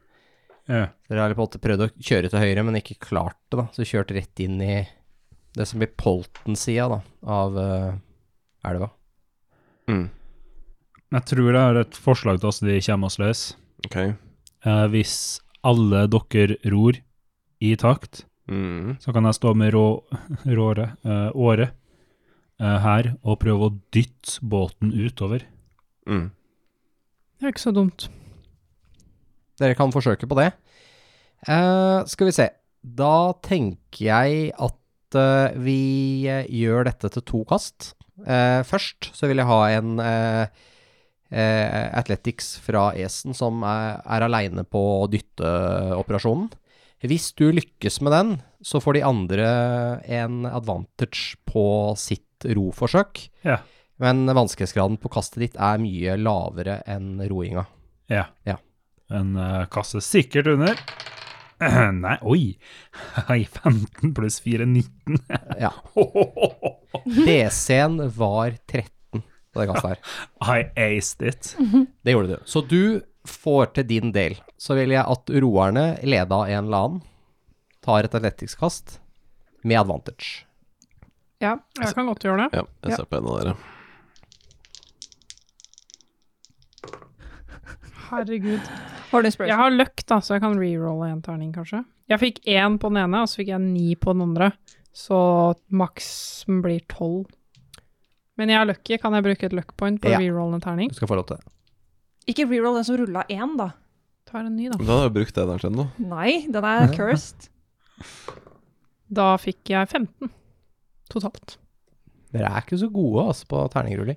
F: Ja.
B: Dere har på en måte prøvd å kjøre til høyre, men ikke klart det, da. Så kjørt rett inn i det som blir Polten-sida, da, av eh, elva.
A: Mm.
F: Jeg tror jeg har et forslag til oss de kommer oss løs.
A: Ok.
F: Eh, hvis alle dere ror i takt,
A: Mm.
F: så kan jeg stå med rå, råre, eh, åre eh, her og prøve å dytte båten utover.
A: Mm.
E: Det er ikke så dumt.
B: Dere kan forsøke på det. Eh, skal vi se. Da tenker jeg at eh, vi eh, gjør dette til to kast. Eh, først så vil jeg ha en eh, eh, Athletics fra Esen som er, er aleine på dytteoperasjonen. Hvis du lykkes med den, så får de andre en advantage på sitt roforsøk.
F: Ja.
B: Men vanskelighetsgraden på kastet ditt er mye lavere enn roinga.
F: Ja.
B: Ja.
F: En eh, kasse sikkert under. Nei, oi! Hei, 15 pluss 4, 19.
B: Ja. DC-en var 13 på det kastet her.
F: I aced it.
B: Det gjorde du. Så du får til din del. Så vil jeg at roerne, leda av en eller annen, tar et atletikskast med advantage.
E: Ja, altså- jeg kan godt gjøre det.
A: Ja, jeg ser på en av dere.
E: Herregud.
G: Har du
E: Jeg
G: inspiration?
E: har løkk, da, så jeg kan rerolle en terning, kanskje. Jeg fikk én på den ene, og så fikk jeg ni på den andre. Så maksen blir tolv. Men jeg er lucky. Kan jeg bruke et luck point på
B: Ja.
E: å rerolle en terning?
B: Du skal få lov til det.
G: Ikke reroll den som rulla én, da.
E: Tar en ny, da.
A: Da har jeg brukt eneren sin, da.
G: Nei, den er cursed.
E: Da fikk jeg 15 totalt.
B: Dere er ikke så gode altså, på terningrulling.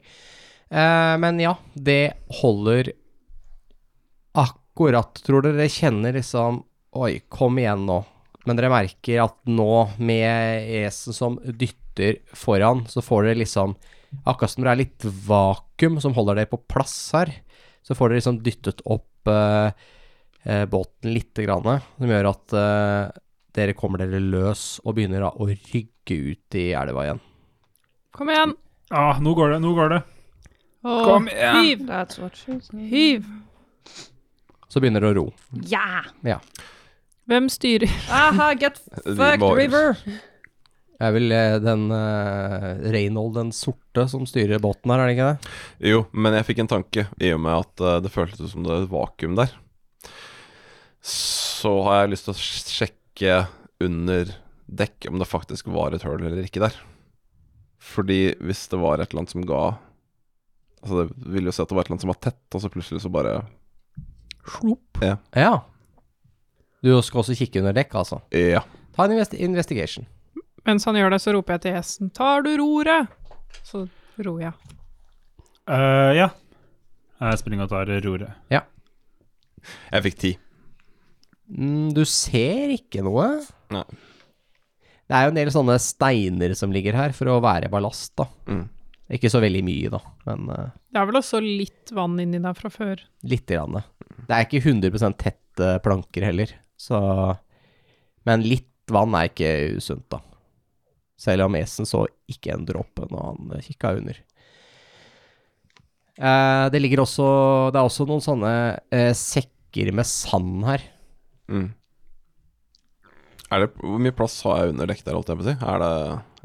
B: Eh, men ja, det holder akkurat. Tror dere kjenner liksom Oi, kom igjen nå. Men dere merker at nå, med esen som dytter foran, så får dere liksom Akkurat som det er litt vakuum som holder dere på plass her, så får dere liksom dyttet opp eh, eh, båten lite grann, som gjør at eh, dere kommer dere løs og begynner da å rygge ut i elva igjen.
E: Kom igjen!
F: Ah, nå går det, nå går det.
E: Og
F: Kom igjen!
E: Hiv!
G: That's what she said.
E: Hiv!
B: Så begynner det å ro.
G: Yeah!
E: Hvem styrer?
G: Aha, get fucked,
A: må-
G: river!
B: Det er vel eh, den eh, Reynold den sorte som styrer båten her, er det ikke det?
A: Jo, men jeg fikk en tanke i og med at eh, det føltes ut som det var et vakuum der. Så har jeg lyst til å sj- sjekke under dekk om det faktisk var et hull eller ikke der. Fordi hvis det var et eller annet som ga Altså Det ville jo si at det var et eller annet som var tett, og så plutselig så bare
B: Ja. Du skal også kikke under dekk, altså.
A: Ja.
B: Ta en invest investigation.
E: Mens han gjør det, så roper jeg til hesten 'Tar du roret?' Så ror jeg.
F: Eh, ja. Jeg springer og tar roret.
A: Jeg fikk ti.
B: Mm, du ser ikke noe.
A: Nei.
B: Det er jo en del sånne steiner som ligger her for å være ballast, da.
A: Mm.
B: Ikke så veldig mye, da, men eh,
E: Det er vel også litt vann inni der fra før.
B: lite grann. Det er ikke 100 tette planker heller, så Men litt vann er ikke usunt, da. Selv om Esen så ikke en dråpe når han eh, kikka under. Eh, det ligger også Det er også noen sånne eh, sekker med sand her.
A: Mm. Er det, hvor mye plass har jeg under dekk der, holdt jeg på å si? Er det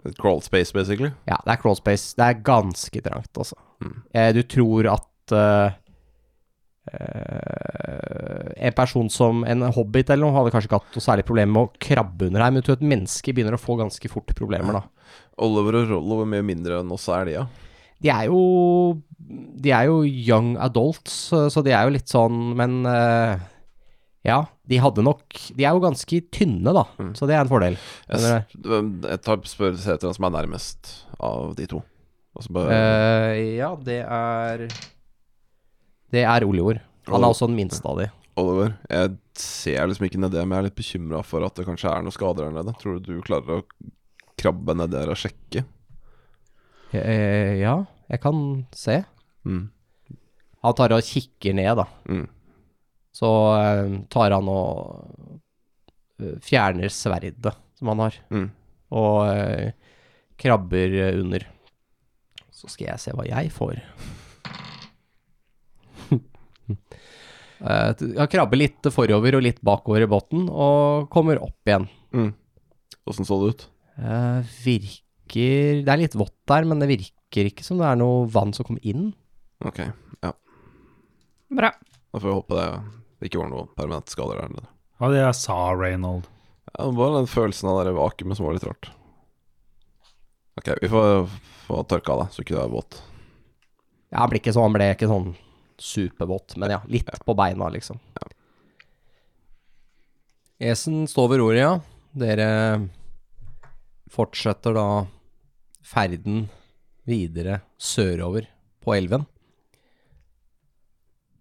A: et crawl space, basically?
B: Ja, det er crawl space. Det er ganske trangt, altså.
A: Mm.
B: Eh, du tror at eh, eh, en person som en hobbit eller noe hadde kanskje ikke hatt noe særlig problem med å krabbe under her, men du tror et menneske begynner å få ganske fort problemer, da.
A: Oliver og Rollo, hvor mye mindre enn oss er de, ja?
B: De er jo De er jo young adults, eh, så de er jo litt sånn Men eh, ja, de hadde nok De er jo ganske tynne, da,
A: Mm.
B: så det er en fordel.
A: Jeg,
B: Eller-
A: s- hvem- jeg tar spør etter hvem som er nærmest av de to. Og så bare
B: Eh, ja, det er Det er Olior. Han er
A: Olior.
B: også den minste av de.
A: Oliver, jeg ser liksom ikke nedi, men jeg er litt bekymra for at det kanskje er noen skader der nede. Tror du du klarer å krabbe ned der og sjekke?
B: Eh, ja, jeg kan se.
A: Mm.
B: Han tar og kikker ned, da.
A: Mm.
B: Så eh, tar han og eh, fjerner sverdet som han har,
A: Mm.
B: og eh, krabber eh, under. Så skal jeg se hva jeg får. Eh, t- Han krabber litt forover og litt bakover i båten, og kommer opp igjen.
A: Mm. Åssen så det ut?
B: Eh, virker Det er litt vått der, men det virker ikke som det er noe vann som kommer inn.
A: Ok,
E: Bra.
A: da får vi håpe det ikke var noen permanente skader der nede.
F: Hva var det jeg sa, Reynold?
A: Ja, det var den følelsen av det der vakuumet som var litt rart. Ok, vi får, får tørke av det, så ikke det er våt.
B: Ja, han ble ikke sånn, han ble ikke sånn supervåt, men ja, litt på beina, liksom. Esen står ved roret, ja. Dere fortsetter da ferden videre sørover på elven.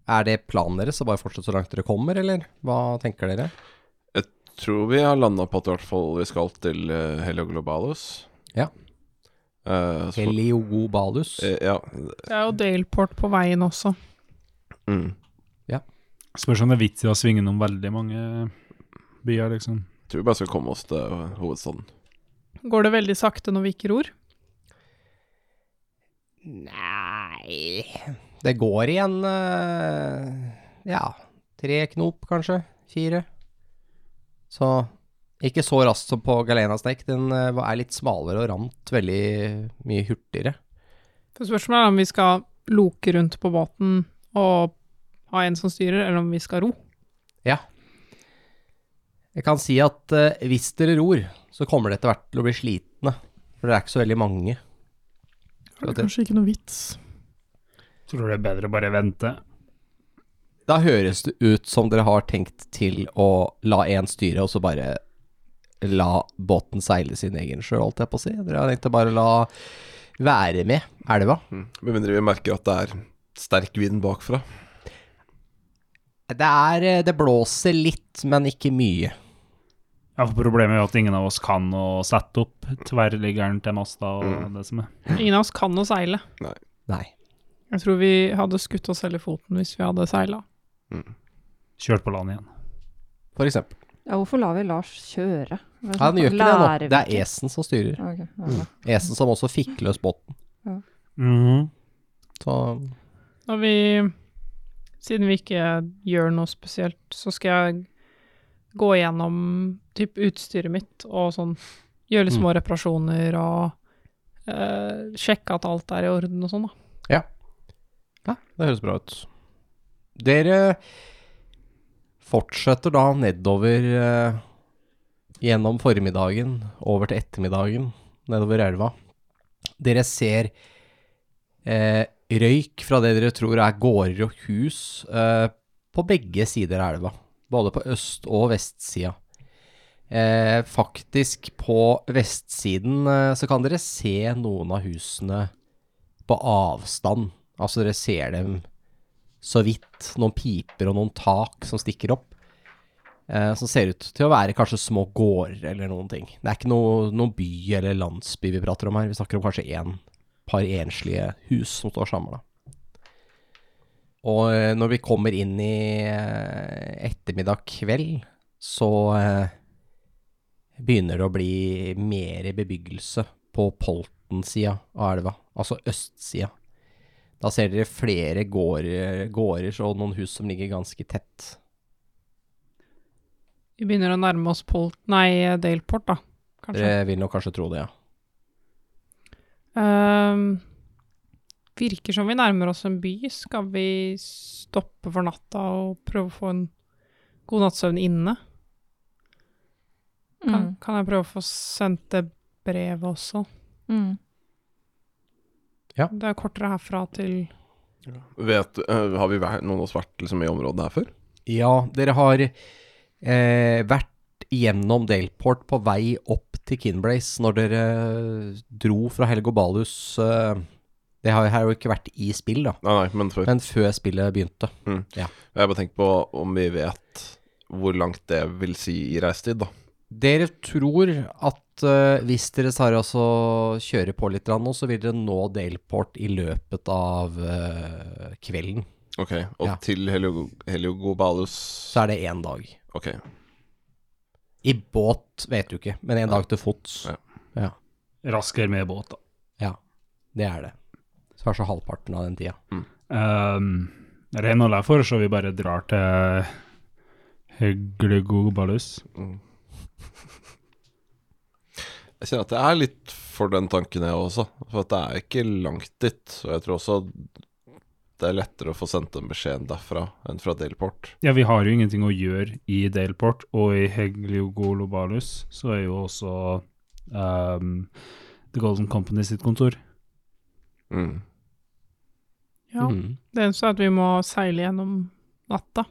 B: Er det planen deres å bare fortsette så langt dere kommer, eller hva tenker dere?
A: tror vi har landa på at i hvert fall vi skal til eh, Helio Globalus.
B: Ja.
A: Eh, så-
B: Heliogobalus.
A: eh, ja.
E: Det er jo Daleport på veien også.
A: Mm.
F: Spørs om det er vits i å svinge innom veldig mange byer, liksom.
A: Tror vi bare skal komme oss til eh, hovedstaden.
E: Går det veldig sakte når vi ikke ror?
B: Nei Det går igjen eh, Ja, tre knop kanskje. Fire. Så ikke så raskt som på Galena Snake. Den eh, var- er litt smalere og ramt veldig mye hurtigere.
E: For spørsmålet er om vi skal loke rundt på båten og av en som styrer, eller om vi skal ro.
B: Ja. Jeg kan si at eh, hvis dere ror, så kommer dere etter hvert til å bli slitne. For dere er ikke så veldig mange.
I: Det er kanskje ikke noe vits.
F: Tror det er bedre å bare vente.
B: Da høres det ut som dere har tenkt til å la én styre, og så bare la båten seile sin egen sjø, holdt jeg på å si. Dere har tenkt å bare la være med elva.
A: Med mindre vi merker at det er sterk vind bakfra.
B: Det er eh, Det blåser litt, men ikke mye.
F: Ja, for Problemet er jo at ingen av oss kan å sette opp tverrliggeren til masta og det som er.
E: Ingen av oss kan å seile.
B: Nei.
E: Jeg tror vi hadde skutt oss selv i foten hvis vi hadde seila.
F: Kjørt på land igjen.
B: For eksempel.
G: Ja, hvorfor lar vi Lars kjøre? Hva er det
B: Han
G: som-
B: gjør ikke det nå. Mm.
G: Lærer vi
B: Det er
G: ikke?
B: Esen som styrer.
G: Ok, ja, ja.
B: Esen som også fikk løs båten.
F: Mm-hmm.
B: Så
E: Når vi Siden vi ikke gjør noe spesielt, så skal jeg gå gjennom typ utstyret mitt og sånn. Gjøre
I: Mm.
E: litt små reparasjoner og eh, sjekke at alt er i orden og sånn, da.
B: Ja, det høres bra ut. Dere fortsetter da nedover eh, gjennom formiddagen, over til ettermiddagen, nedover elva. Dere ser eh, røyk fra det dere tror er gårder og hus eh, på begge sider av elva. Både på øst- og vestsida. Eh, faktisk på vestsiden eh, så kan dere se noen av husene på avstand. Altså dere ser dem så vidt, noen piper og noen tak som stikker opp. Eh, som ser ut til å være kanskje små gårder eller noen ting. Det er ikke noe, noen by eller landsby vi prater om her. Vi snakker om kanskje en par enslige hus som står samla. Og eh, når vi kommer inn i eh, ettermiddag kveld, så eh, begynner det å bli mer bebyggelse på Polten-sida av elva, altså østsida. Da ser dere flere gårder, gårder og noen hus som ligger ganske tett.
E: Vi begynner å nærme oss Pol... Nei, Daleport, da. Kanskje.
B: Dere vil nok kanskje tro det, ja.
E: Ehm, virker som vi nærmer oss en by. Skal vi stoppe for natta og prøve å få en god natts søvn inne? Kan,
G: Mm.
E: kan jeg prøve å få sendt det brevet også?
G: Mm.
E: Det er kortere herfra til
A: Vet, eh, har vi vært, noen av oss vært liksom, i området her før?
B: Ja, dere har eh, vært gjennom Delport på vei opp til Kinblaze når dere dro fra Helgobalus. Eh, det har har jo ikke vært i spill, da,
A: Nei, nei, men før.
B: men før spillet begynte.
A: Jeg bare tenkte på om vi vet hvor langt det vil si i reisetid, da.
B: Dere tror at eh, hvis dere tar altså kjører på litt grann nå, så vil dere nå Delport i løpet av eh, kvelden.
A: Ok, og
B: Ja.
A: til Helio- Heliogobalus
B: Så er det én dag.
A: Ok,
B: I båt vet du ikke, men en dag til fots.
A: Ja.
B: Ja,
F: Raskere med båt, da.
B: det er det. Så kanskje halvparten av den tida.
F: Um, Reinhold er for, så vi bare drar til Høglegobalus.
A: Jeg kjenner at jeg er litt for den tanken jeg også, for at det er ikke langt dit. Og jeg tror også det er lettere å få sendt en beskjed derfra enn fra Delport.
F: Ja, vi har jo ingenting å gjøre i Daleport, og i Hegliogolobalus så er jo også um, The Golden Company sitt kontor.
A: Mm.
E: Ja.
B: Mhm.
E: Det eneste er at vi må seile gjennom natta.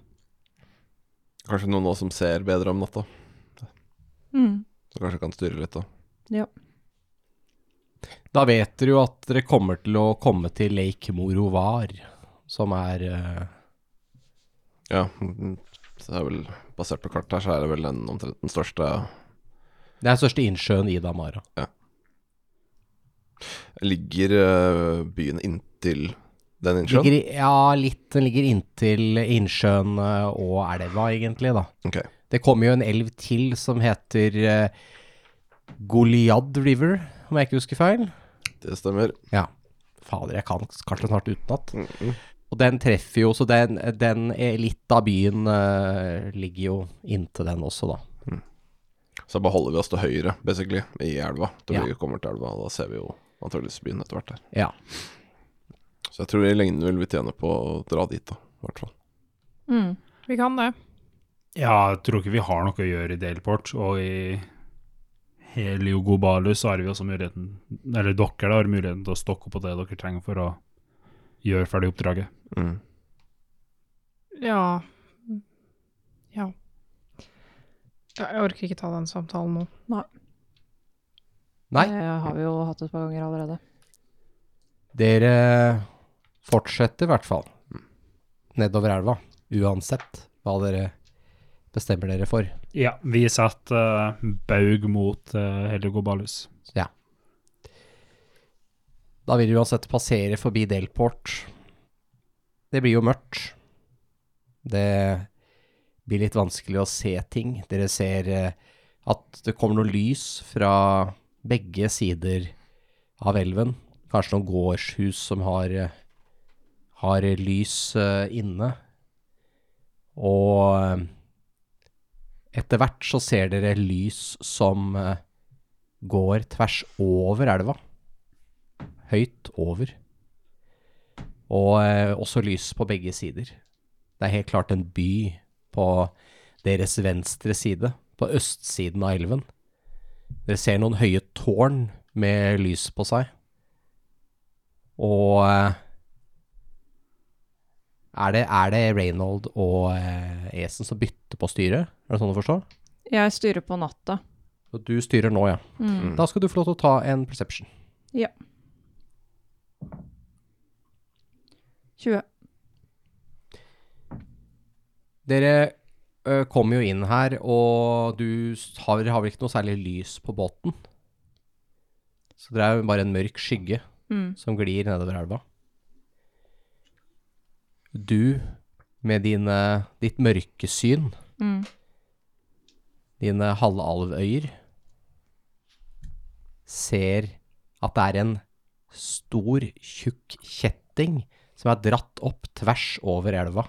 A: Kanskje noen nå som ser bedre om natta,
G: Mm.
A: så kanskje kan styre litt, da.
B: Da vet dere jo at dere kommer til å komme til Lake Morovar, som er eh,
A: Ja, mm, så det er vel basert på kartet her, så er det vel den omtrent den største
B: Det er den største innsjøen i Damara.
A: Ligger eh, byen inntil den innsjøen?
B: Ligger, i- ja, litt. Den ligger inntil innsjøen eh, og elva, egentlig, da.
A: Ok.
B: Det kommer jo en elv til som heter eh, Goliad River, om jeg ikke husker feil.
A: Det stemmer. Mm,
B: Ja. Fader, jeg kan kanskje snart utenat. Og den treffer jo, så den, den er litt av byen eh, ligger jo inntil den også, da.
A: Så bare holder vi oss til høyre, basically, i elva. Til
B: Ja.
A: vi kommer til elva, og da ser vi jo antakeligvis byen etter hvert her.
B: Ja.
A: Så jeg tror i lengden vil vi tjene på å dra dit, da. I hvert fall.
E: Mm. Vi kan det.
F: Ja, jeg tror ikke vi har noe å gjøre i Daleport, og i Heliogobalus har vi også muligheten, eller dere da, har muligheten til å stokke på det dere trenger for å gjøre ferdig oppdraget.
A: Mm.
E: Ja Ja. Ja, Jeg orker ikke ta den samtalen nå.
B: Nei.
D: Det har vi jo hatt et par ganger allerede.
B: Dere fortsetter i hvert fall nedover elva, uansett hva dere bestemmer dere for.
F: Ja, vi setter eh, Baug mot uh, Heliogobalus.
B: Da vil de uansett passere forbi Delport. Det blir jo mørkt. Det blir litt vanskelig å se ting. Dere ser eh, at det kommer noe lys fra begge sider av elven. Kanskje noen gårdshus som har, eh, har lys eh, inne. Og eh, etter hvert så ser dere lys som eh, går tvers over elva høyt over. Og eh, også lys på begge sider. Det er helt klart en by på deres venstre side, på østsiden av elven. Dere ser noen høye tårn med lys på seg. Og eh, er det, er det Reynold og eh, Esen som bytter på styret? Er det sånn å forstå?
G: Jeg styrer på natta.
B: Og Du styrer nå, ja.
G: Mm.
B: Da skal du få lov til å ta en perception.
G: 20.
B: Dere ø, kom jo inn her, og du s- har, har vel ikke noe særlig lys på båten? Så det er jo bare en mørk skygge
G: Mm.
B: som glir nedover elva. Du, med dine, ditt mørkesyn,
G: Mm.
B: dine halvalvøyer, ser at det er en stor, tjukk kjetting som er dratt opp tvers over elva,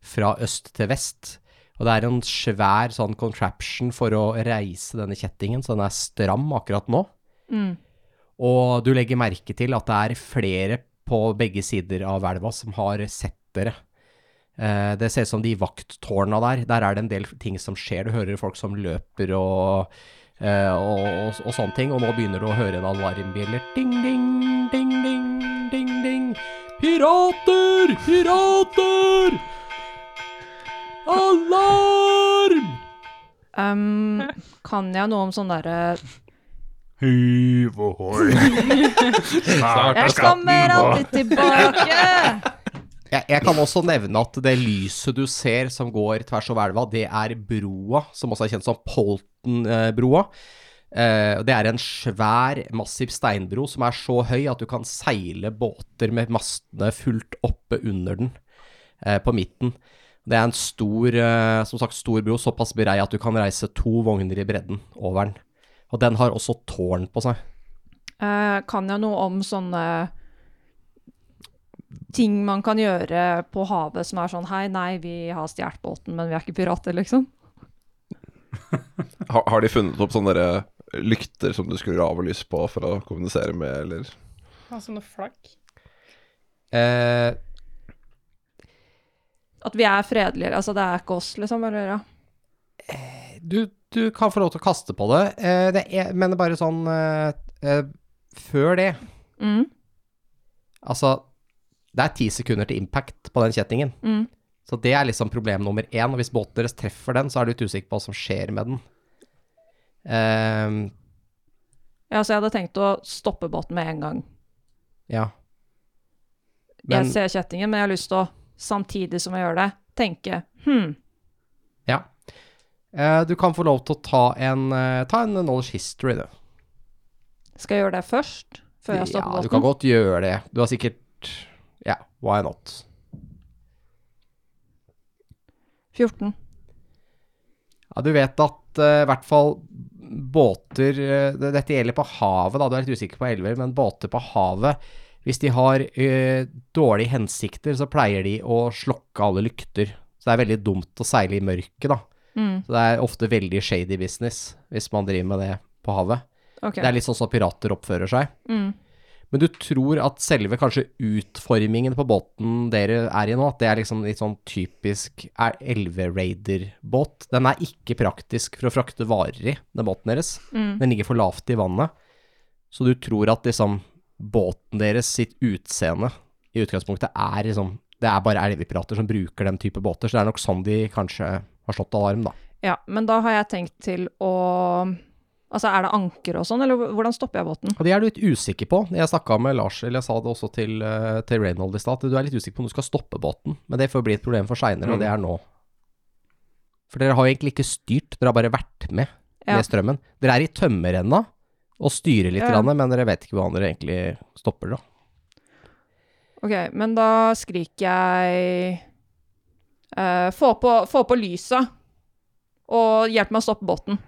B: fra øst til vest. Og det er en svær sånn contraption for å reise denne kjettingen, så den er stram akkurat nå.
G: Mm.
B: Og du legger merke til at det er flere på begge sider av elva som har sett dere. Eh, Det ser ut som de vakttårna der. Der er det en del ting som skjer. Du hører folk som løper og, eh, og, og, og sånne ting. Og nå begynner du å høre en alarmbjeller. Ding, ding, ding, ding, ding, ding. Pirater! Pirater! Alarm!
G: Um, kan jeg noe om sånn derre
F: Hyv ohoi!
G: Jeg kommer alltid tilbake!
B: Jeg, jeg kan også nevne at det lyset du ser som går tvers over elva, det er broa, som også er kjent som Poltenbroa. Eh, Det er en svær, massiv steinbro som er så høy at du kan seile båter med mastene fullt oppe under den, eh, på midten. Det er en stor, eh, som sagt, stor bro, såpass brei at du kan reise to vogner i bredden over den. Og den har også tårn på seg.
G: Eh, kan jeg noe om sånne ting man kan gjøre på havet som er sånn Hei, nei, vi har stjålet båten, men vi er ikke pirater, liksom.
A: Har, har de funnet opp sånne der, eh, lykter som du skrur av og lys på for å kommunisere med, eller
E: Ha sånne flagg.
B: Eh,
G: At vi er fredelige. Altså, det er ikke oss, liksom. Eller, ja.
B: du, du kan få lov til å kaste på det, eh, det er, men det er bare sånn eh, eh, Før det
G: mm,
B: Altså, det er ti sekunder til impact på den kjettingen.
G: mm.
B: Så det er liksom problem nummer én. Og hvis båten deres treffer den, så er du litt usikker på hva som skjer med den. Ehm,
G: Ja, så jeg hadde tenkt å stoppe båten med en gang.
B: ja. Men
G: jeg ser kjettingen, men jeg har lyst til å, samtidig som jeg gjør det, tenke hm,
B: ja. Eh, du kan få lov til å ta en, eh, ta en knowledge history, du.
G: skal jeg gjøre det først? Før jeg
B: Ja,
G: stopper
B: du kan
G: båten?
B: godt gjøre det. Du har sikkert Ja, why not?
G: 14.
B: Ja, du vet at eh, i hvert fall båter eh, det- Dette gjelder på havet, da. Du er litt usikker på elver, men båter på havet Hvis de har eh, dårlige hensikter, så pleier de å slokke alle lykter. Så det er veldig dumt å seile i mørket, da.
G: Mm,
B: Så det er ofte veldig shady business hvis man driver med det på havet.
G: ok.
B: Det er litt sånn som pirater oppfører seg.
G: Mm,
B: Men du tror at selve kanskje utformingen på båten dere er i nå, at det er liksom litt sånn typisk er- elveraider-båt. Den er ikke praktisk for å frakte varer i, den båten deres.
E: Mm.
B: Den ligger for lavt i vannet. Så du tror at liksom båten deres sitt utseende i utgangspunktet er liksom Det er bare elvepirater som bruker den type båter, så det er nok sånn de kanskje har slått alarm, da.
G: Ja, men da har jeg tenkt til å Altså, er det anker og sånn, eller hvordan stopper jeg båten?
B: Og det er du litt usikker på. Jeg snakka med Lars, eller jeg sa det også til, eh, til Reynold i stad, at du er litt usikker på om du skal stoppe båten. Men det får bli et problem for seinere, og det
G: Mm.
B: er nå. For dere har jo egentlig ikke styrt, dere har bare vært med
G: Ja.
B: med strømmen. Dere er i tømmerrenna og styrer litt,
G: Ja, ja.
B: grann, men dere vet ikke hvordan dere egentlig stopper, da.
G: Ok, men da skriker jeg eh, få, på, få på lysa, og hjelp meg å stoppe båten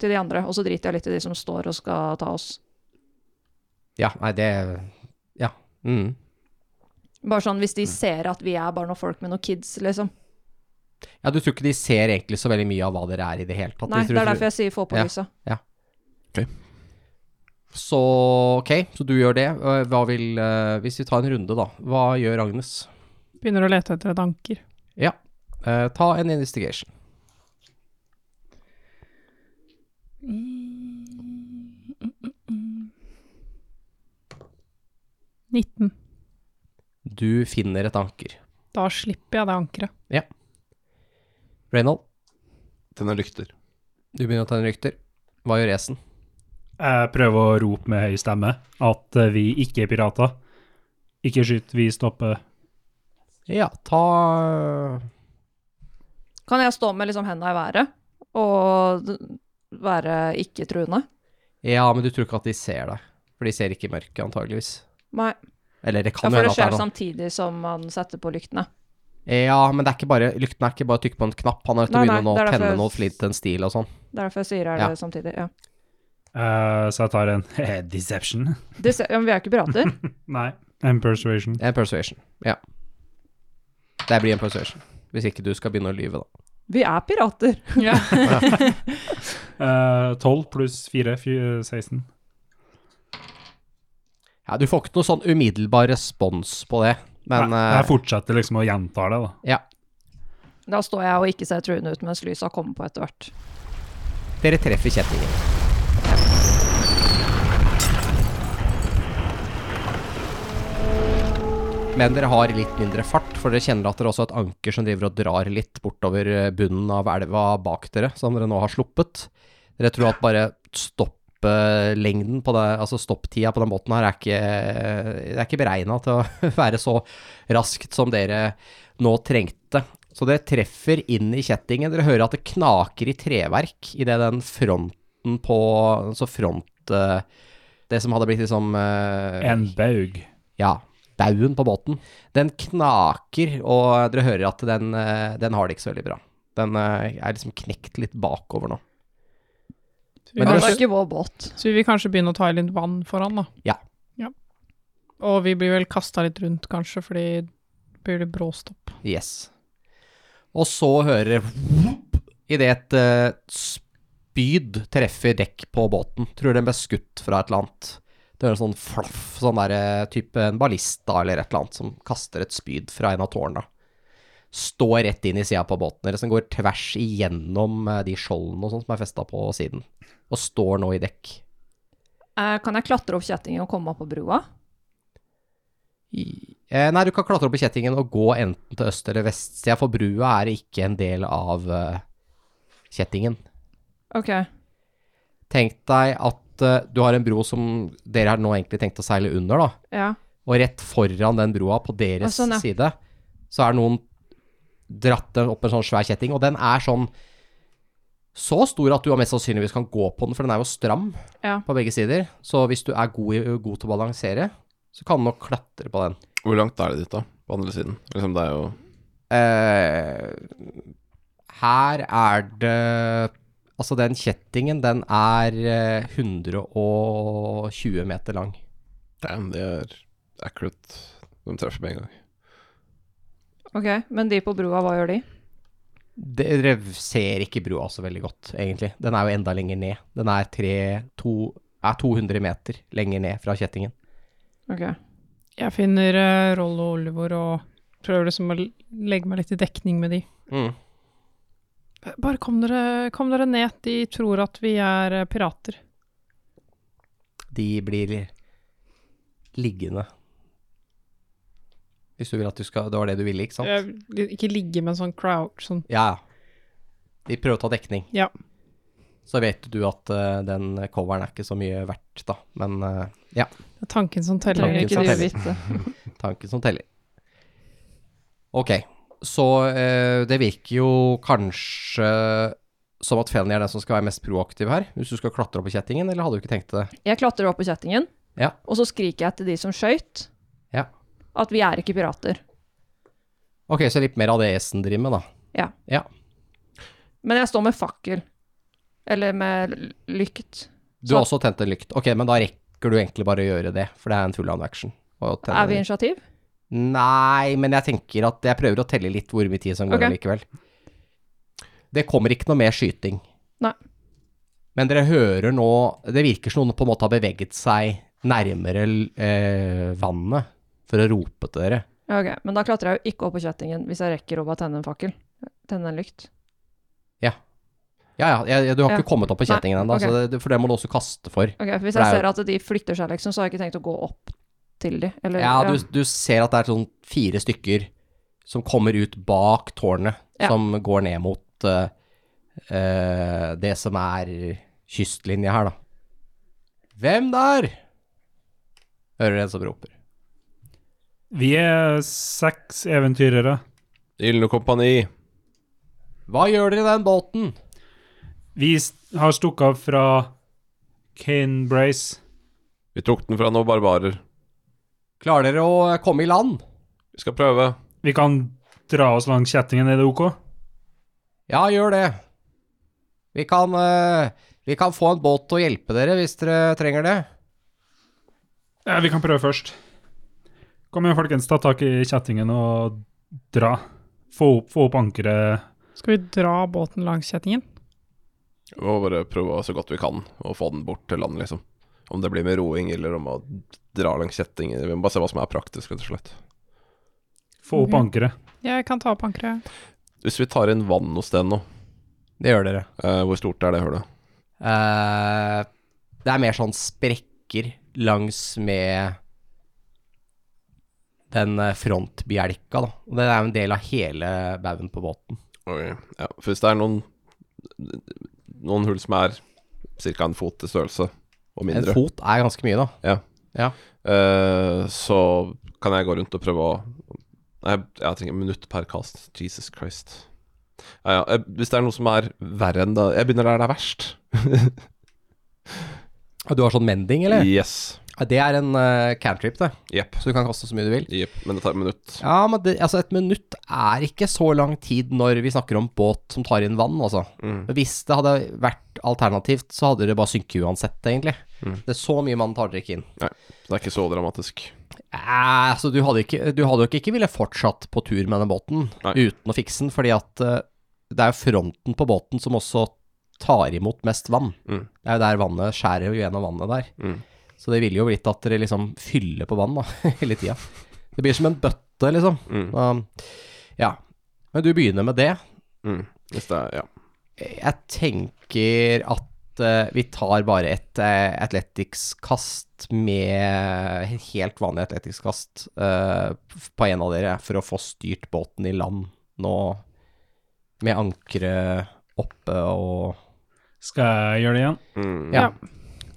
G: til de andre. Og så driter jeg litt i de som står og skal ta oss.
B: Ja, nei, det Ja. Mm.
G: Bare sånn hvis de ser at vi er bare noen folk med noen kids, liksom.
B: Ja, du tror ikke de ser egentlig så veldig mye av hva dere er i det hele tatt.
G: Nei, det er derfor jeg sier få på
B: Ja.
G: lysa.
B: Så ok, så du gjør det. Eh, Hva vil eh, Hvis vi tar en runde, da. Hva gjør Agnes?
E: Begynner å lete etter et anker.
B: Ja. Eh, ta en investigation.
E: Mm, mm, mm. 19.
B: Du finner et anker.
E: Da slipper jeg det ankeret.
B: Reynold,
A: Tenner lykter.
B: du begynner å tenne rykter. Hva gjør Esen?
F: Jeg prøver å rope med høy stemme at eh, vi ikke er pirater. Ikke skyt, vi stopper.
B: Ja, ta
G: eh, Kan jeg stå med liksom henda i været og d- være ikke-truende?
B: Ja, men du tror ikke at de ser deg. For de ser ikke i mørket, antageligvis.
G: Nei.
B: Eller det
G: Ja,
B: kan jo
G: for
B: hende
G: det
B: at det
G: skjer
B: er noe.
G: samtidig som man setter på lyktene.
B: Ja, men det er ikke bare, lykten er ikke bare å trykke på en knapp. Han er nødt til å
G: Nei,
B: begynne
G: nei,
B: nå
G: det
B: å
G: er derfor
B: tenne
G: jeg-
B: noe flint en stil og sånn.
G: Det er derfor jeg sier er
B: Ja.
G: det samtidig. Ja.
F: Eh, så jeg tar en deception.
G: Det ser, ja, men vi er jo ikke pirater.
F: Nei, en persuasion.
B: En persuasion. Ja. Det blir en persuasion. Hvis ikke du skal begynne å lyve, da.
G: Vi er pirater.
F: Eh, 12 pluss 4, 16.
B: Ja, du får ikke noe sånn umiddelbar respons på det, men
F: Nei,
B: eh,
F: jeg fortsetter liksom å gjenta det, da.
B: ja.
G: Da står jeg og ikke ser truende ut mens lysa kommer på etter hvert.
B: Dere treffer kjettingen. Men dere har litt mindre fart, for dere kjenner at dere også har et anker som driver og drar litt bortover eh, bunnen av elva bak dere, som dere nå har sluppet. Dere tror at bare stopplengden på det, altså stopptida på den båten her er ikke, eh, det er ikke beregna til å være så raskt som dere nå trengte. Så dere treffer inn i kjettingen. Dere hører at det knaker i treverk idet den fronten på Altså front eh, Det som hadde blitt liksom eh,
F: En baug.
B: Ja, baugen på båten. Den knaker, og dere hører at den, eh, den har det ikke så veldig bra. Den eh, er liksom knekt litt bakover nå.
E: Så vi,
B: Men
G: Det
B: dere-
G: var
E: kanskje,
G: ikke vår båt.
E: så vi vil kanskje begynne å ta i litt vann foran, da.
B: Ja.
E: Og vi blir vel kasta litt rundt, kanskje, fordi det blir litt bråstopp.
B: Yes. Og så hører Idet et eh, spyd treffer dekk på båten. Tror den ble skutt fra et eller annet. Det høres sånn flaff, sånn der eh, type en ballista eller et eller annet som kaster et spyd fra en av tårna. Står rett inn i sida på båten deres. Den går tvers igjennom eh, de skjoldene og sånt som er festa på siden. Og står nå i dekk.
G: Eh, kan jeg klatre opp kjettingen og komme opp på brua?
B: I- eh, Nei, du kan klatre opp i kjettingen og gå enten til øst- eller vestsida, for brua er ikke en del av eh, kjettingen.
G: Ok.
B: Tenk deg at eh, du har en bro som dere har nå egentlig tenkt å seile under, da.
G: Ja.
B: Og rett foran den broa på deres
G: Å, sånn, ja.
B: side, så er noen dratt den opp en sånn svær kjetting, og den er sånn så stor at du mest sannsynligvis kan gå på den, for den er jo stram
G: Ja.
B: på begge sider. Så hvis du er god, i- god til å balansere, så kan du nok klatre på den.
A: Hvor langt er det dit, da? På andre siden? Liksom, det er jo
B: Eh, her er det Altså, den kjettingen, den er eh, 120 meter lang.
A: Damn, det er accurate. De treffer med en gang.
G: Ok, men de på brua, hva gjør de?
B: Dere ser ikke brua så veldig godt, egentlig. Den er jo enda lenger ned. Den er, tre, to, er 200 meter lenger ned fra kjettingen.
G: Ok.
E: Jeg finner eh, Rollo og Olivor og prøver liksom å l- legge meg litt i dekning med de.
A: Mm.
E: B- Bare kom dere, kom dere ned, de tror at vi er eh, pirater.
B: De blir liggende. Hvis du vil at du skal Det var det du ville, ikke sant?
E: Jeg vil Eh, ikke ligge med en sånn crouch sånn.
B: Ja, ja. De prøver å ta dekning.
E: Ja.
B: Så vet du at eh, den coveren er ikke så mye verdt, da. Men eh, ja,
E: Det er tanken som teller.
B: Tanken
G: Trenger ikke
B: som
G: du
B: teller.
G: vite.
B: tanken som teller. Ok, så eh, det virker jo kanskje som at Fenny er den som skal være mest proaktiv her. Hvis du skal klatre opp på kjettingen, eller hadde du ikke tenkt det?
G: Jeg klatrer opp på kjettingen,
B: Ja.
G: og så skriker jeg til de som skøyt,
B: Ja.
G: at vi er ikke pirater.
B: Ok, så litt mer av det Esen driver med, da.
G: Men jeg står med fakkel. Eller med l- lykt.
B: Du har også tent en lykt. Ok, men da rekker du egentlig bare å gjøre det, for det er en full on action. å tenne
G: Er
B: en
G: vi
B: lykt.
G: initiativ?
B: Nei, men jeg tenker at jeg prøver å telle litt hvor mye tid som går
G: Ok.
B: allikevel. Det kommer ikke noe mer skyting.
G: Nei.
B: Men dere hører nå Det virker som noen på en måte har beveget seg nærmere eh, vannet for å rope til dere.
G: Ja, Ok, men da klatrer jeg jo ikke opp på kjettingen hvis jeg rekker å bare tenne en fakkel. Tenne en lykt.
B: Ja, ja, ja, ja, du har
G: Ja.
B: ikke kommet opp på
G: Nei,
B: kjettingen ennå,
G: ok.
B: så det- for det må du også kaste for.
G: Ok, for Hvis
B: For det
G: jeg
B: er
G: ser at de flytter seg, liksom, så har jeg ikke tenkt å gå opp til de. Eller,
B: Ja, du, du ser at det er sånn fire stykker som kommer ut bak tårnet,
G: Ja.
B: som går ned mot eh, eh, det som er kystlinja her, da. Hvem der? Hører du en som roper.
F: Vi er seks eventyrere.
A: Ildne kompani.
B: Hva gjør dere i den båten?
F: Vi s- har stukket av fra Canebrace.
A: Vi tok den fra noen barbarer.
B: Klarer dere å eh, komme i land?
A: Vi skal prøve.
F: Vi kan dra oss langs kjettingen, er det OK?
B: Ja, gjør det. Vi kan, eh, vi kan få en båt til å hjelpe dere hvis dere trenger det.
F: Ja, vi kan prøve først. Kom igjen, folkens. Ta tak i kjettingen og dra. Få opp, få opp ankeret.
E: Skal vi dra båten langs kjettingen?
A: Vi må bare prøve så godt vi kan å få den bort til land, liksom. Om det blir med roing eller om å dra langs kjettingen. Vi må bare se hva som er praktisk, rett og slett.
F: Få opp
E: Ok.
F: ankeret.
E: Jeg kan ta opp ankeret.
A: Hvis vi tar inn vann hos den nå,
B: Det gjør dere.
A: eh, hvor stort er det hølet?
B: Eh, det er mer sånn sprekker langs med den eh, frontbjelka, da. Og det er jo en del av hele baugen på båten.
A: Oi. Ja, for hvis det er noen Noen hull som er ca. en fot i størrelse, og mindre,
B: En fot er ganske mye, da.
A: eh, så kan jeg gå rundt og prøve å Nei, jeg trenger et minutt per cast. Jesus Christ. Ja, ja. eh, Hvis det er noe som er verre enn det Jeg begynner der det er verst.
B: Og Du har sånn mending, eller?
A: Yes.
B: Ja, Det er en eh, cantrip, det.
A: Jepp.
B: Så du kan kaste så mye du vil.
A: Jepp. Men det tar et minutt.
B: Ja, men det, altså et minutt er ikke så lang tid når vi snakker om båt som tar inn vann, altså.
A: Mm.
B: Hvis det hadde vært alternativt, så hadde det bare synket uansett, egentlig.
A: Mm.
B: Det er så mye man tar dere ikke inn.
A: Det er ikke så dramatisk.
B: Eh, altså, du hadde ikke- du hadde jo ikke, ikke ville fortsatt på tur med den båten
A: Nei.
B: uten å fikse den, fordi at eh, det er jo fronten på båten som også tar imot mest vann.
A: Mm.
B: Det er jo der vannet skjærer jo gjennom vannet der.
A: Mm.
B: Så det ville jo blitt at dere liksom fyller på vann da, hele tida. Det blir som en bøtte, liksom.
A: Mm.
B: Um, ja. Men du begynner med det.
A: Mm. Hvis det er Ja.
B: Jeg tenker at eh, vi tar bare et uh, athletics-kast med et Helt vanlig athletics-kast eh, f- på en av dere for å få styrt båten i land nå. Med ankeret oppe og
F: Skal jeg gjøre det igjen?
A: Mm.
B: Ja.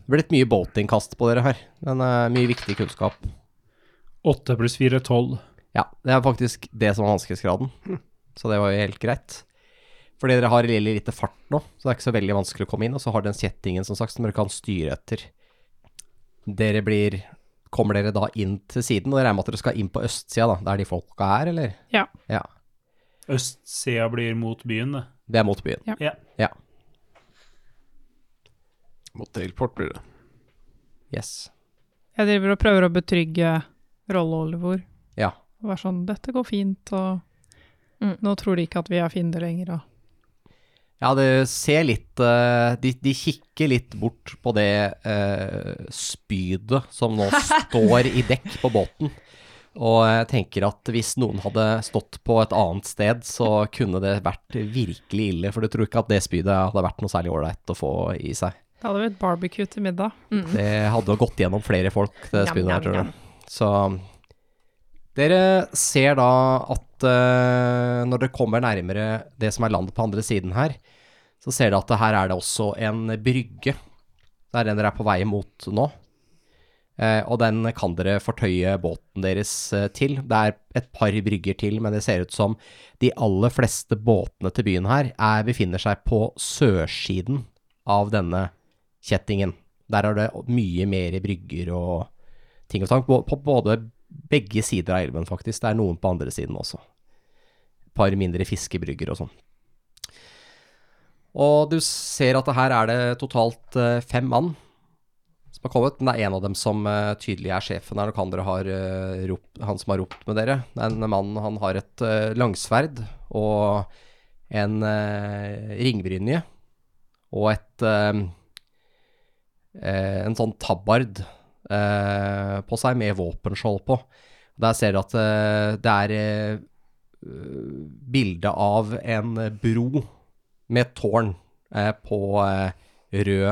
B: Det blir litt mye båtingkast på dere her, men eh, mye viktig kunnskap.
F: Åtte pluss fire, tolv.
B: Ja, det er faktisk det som er vanskelighetsgraden. Så det var jo helt greit. Fordi dere har veldig lite fart nå, så det er ikke så veldig vanskelig å komme inn. Og så har den kjettingen som sagt som dere kan styre etter. Dere blir Kommer dere da inn til siden? Og jeg regner med at dere skal inn på østsida, da, der de folka er, eller?
E: Ja.
B: ja.
F: Østsida blir mot byen, det.
B: Det er mot byen.
E: Ja.
F: Ja.
A: Mot Daleport blir det.
B: Yes.
E: Jeg driver og prøver å betrygge Rollo og Olivor.
B: Ja.
E: Og være sånn 'Dette går fint', og
G: Mm.
E: nå tror de ikke at vi er fiender lenger. Og.
B: Ja, det ser litt eh, de, de kikker litt bort på det eh, spydet som nå står i dekk på båten. Og jeg tenker at hvis noen hadde stått på et annet sted, så kunne det vært virkelig ille. For du tror ikke at det spydet hadde vært noe særlig ålreit å få i seg.
E: Da hadde vi et barbecue til middag.
B: Det hadde jo gått gjennom flere folk, det
G: Njam,
B: spydet
G: njam,
B: her, tror
G: njam.
B: jeg. Så dere ser da at eh, når dere kommer nærmere det som er landet på andre siden her, så ser dere at det her er det også en brygge. Det er den dere er på vei mot nå. Eh, og den kan dere fortøye båten deres eh, til. Det er et par brygger til, men det ser ut som de aller fleste båtene til byen her er, befinner seg på sørsiden av denne kjettingen. Der er det mye mer brygger og ting og tang. På, på både begge sider av elven, faktisk. Det er noen på andre siden også. Et par mindre fiskebrygger og sånn. Og du ser at det her er det totalt eh, fem mann som har kommet. Men det er en av dem som eh, tydelig er sjefen her. Nok andre har eh, ropt, han som har ropt med dere. Det er en mann, han har et eh, langsverd og en eh, ringbrynje og et eh, eh, en sånn tabard eh, på seg med våpenskjold på. Der ser du at eh, det er eh, bilde av en bro med et tårn eh, på eh, rød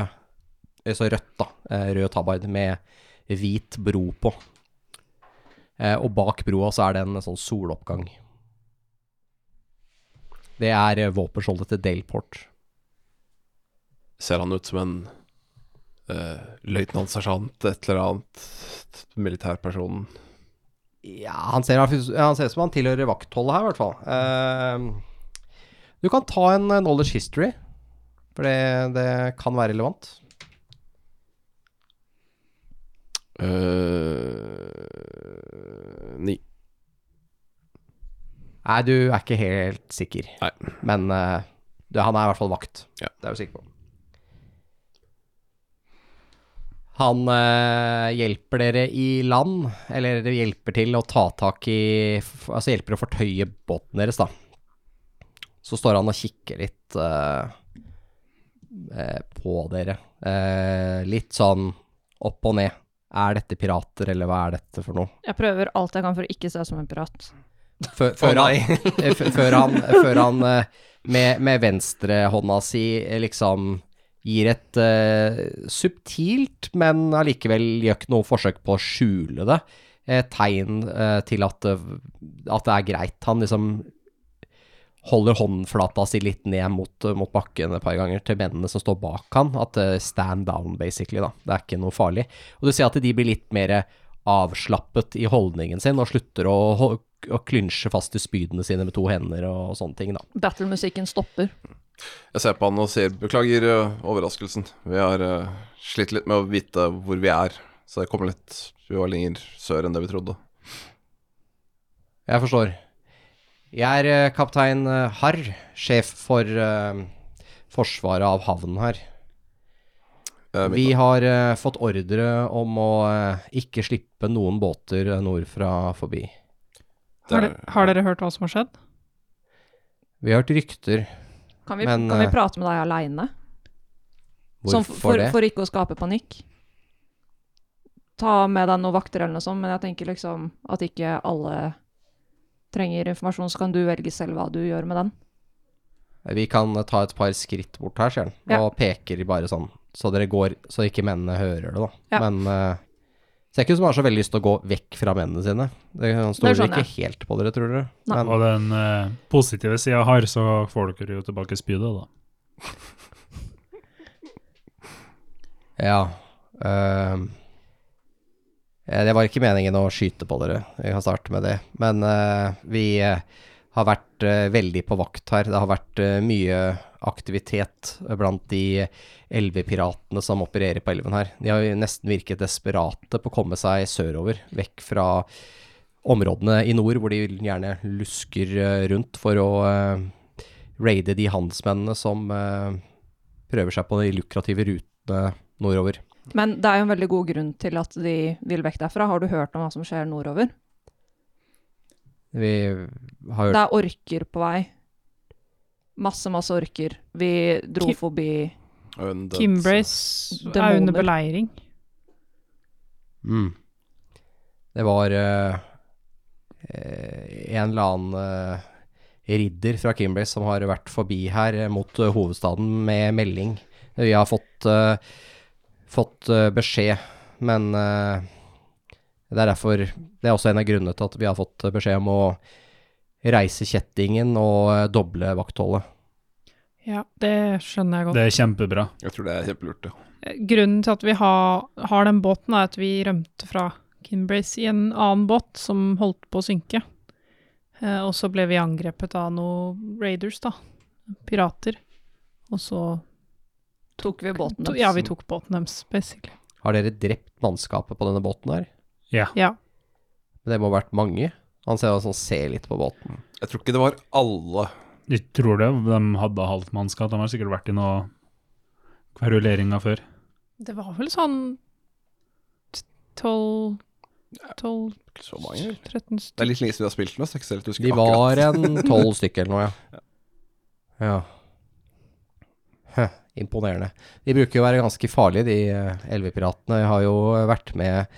B: altså rødt, da. Eh, rød tabard med hvit bro på. Eh, og bak broa så er det en sånn soloppgang. Det er eh, våpenskjoldet til Daleport.
A: Ser han ut som en uh, løytnantsersjant, et eller annet militærperson?
B: Ja, han ser, ja, han ser ut som han tilhører vaktholdet her, i hvert fall. Eh, du kan ta en eh, knowledge history, for det, det kan være relevant.
A: Eh, ni.
B: Nei, du er ikke helt sikker.
A: Nei.
B: Men eh, du, han er i hvert fall vakt.
A: Ja.
B: Det er du sikker på. Han eh, hjelper dere i land, eller dere hjelper til å ta tak i f- Altså hjelper å fortøye båten deres, da. Så står han og kikker litt eh, eh, på dere. Eh, litt sånn opp og ned. Er dette pirater, eller hva er dette for noe?
G: Jeg prøver alt jeg kan for å ikke se ut som en pirat.
B: Før, før, han, f- før han, før han eh, med, med venstrehånda si eh, liksom gir et eh, subtilt, men allikevel gjør ikke noe forsøk på å skjule det, eh, tegn eh, til at, det- at det er greit. Han liksom holder håndflata si litt ned mot, mot bakken et par ganger til mennene som står bak han, at eh, stand down, basically, da. Det er ikke noe farlig. Og du ser at de blir litt mer avslappet i holdningen sin, og slutter å, ho- å klynsje fast i spydene sine med to hender og sånne ting, da.
G: Battlemusikken stopper.
A: Jeg ser på han og sier beklager eh, overraskelsen. Vi har eh, slitt litt med å vite hvor vi er, så det kommer litt Vi var lenger sør enn det vi trodde.
B: Jeg forstår. Jeg er eh, kaptein eh, Harr, sjef for eh, forsvaret av havnen her.
A: Eh, mitt
B: Vi har eh, fått ordre om å eh, ikke slippe noen båter eh, nordfra forbi.
A: Det er-
E: Har, de, har dere hørt hva som har skjedd?
B: Vi har hørt rykter.
G: Kan vi,
B: Men,
G: kan vi
B: eh,
G: prate med deg aleine? Som f-
B: Hvorfor
G: for,
B: det?
G: for ikke å skape panikk. Ta med deg noen vakter eller noe sånt, men jeg tenker liksom at ikke alle trenger informasjon, så kan du velge selv hva du gjør med den.
B: Vi kan eh, ta et par skritt bort her, sier han,
G: Ja.
B: og peker bare sånn, så dere går, så ikke mennene hører det, da.
G: Ja.
B: Men eh, ser ikke ut som han har så veldig lyst til å gå vekk fra mennene sine. Det, han
G: Det
B: stoler
G: skjønner
B: ikke helt på dere, tror dere.
G: Nei.
B: Men
F: Og den eh, positive sida har, så får dere jo tilbake spydet, da.
B: ja ehm, eh, Det var ikke meningen å skyte på dere, vi kan starte med det. Men eh, vi eh, har vært eh, veldig på vakt her. Det har vært eh, mye aktivitet blant de elvepiratene som opererer på elven her. De har jo nesten virket desperate på å komme seg sørover, vekk fra områdene i nord hvor de gjerne lusker eh, rundt for å eh, raide de handelsmennene som eh, prøver seg på de lukrative rutene nordover.
G: Men det er jo en veldig god grunn til at de vil vekk derfra. Har du hørt om hva som skjer nordover?
B: Vi har hørt
G: Det er orker på vei. Masse, masse orker. Vi dro
E: Ki-
G: forbi
A: Undead,
E: Kimbrace er
G: Demoner.
E: under beleiring.
B: Mm. Det var eh, eh, en eller annen eh, ridder fra Kimberley som har vært forbi her eh, mot eh, hovedstaden med melding. Vi har fått, eh, fått eh, beskjed, men eh, det er derfor Det er også en av grunnene til at vi har fått eh, beskjed om å reise kjettingen og eh, doble vaktholdet.
E: Ja, det skjønner jeg godt. Eh,
F: Det er kjempebra.
A: så Jeg tror det er kjempelurt, ja.
E: Grunnen til at vi har, har den båten, er at vi rømte fra Kinbrace i en annen båt som holdt på å synke. Eh, og så ble vi angrepet av noen raiders, da. Pirater. Og så
G: Tok vi båten
E: to,
G: deres.
E: Ja, vi tok båten deres, basically.
B: Har dere drept mannskapet på denne båten her?
E: Ja.
B: Det må ha vært mange. Han ser, sånn, ser litt på båten.
A: Jeg tror ikke det var alle.
F: Jeg tror det, de hadde halvt mannskap. De har sikkert vært i noe kveruleringer før.
E: Det var vel sånn t- tolv Tolv
A: Ikke så mange.
E: tretten
A: Det er
E: stykker.
A: litt lenge siden vi har spilt den, så jeg ikke helt husker
B: De var en tolv stykker eller noe, ja. ja. Hø, imponerende. De bruker jo å være ganske farlige, de eh, elvepiratene. Jeg har jo vært med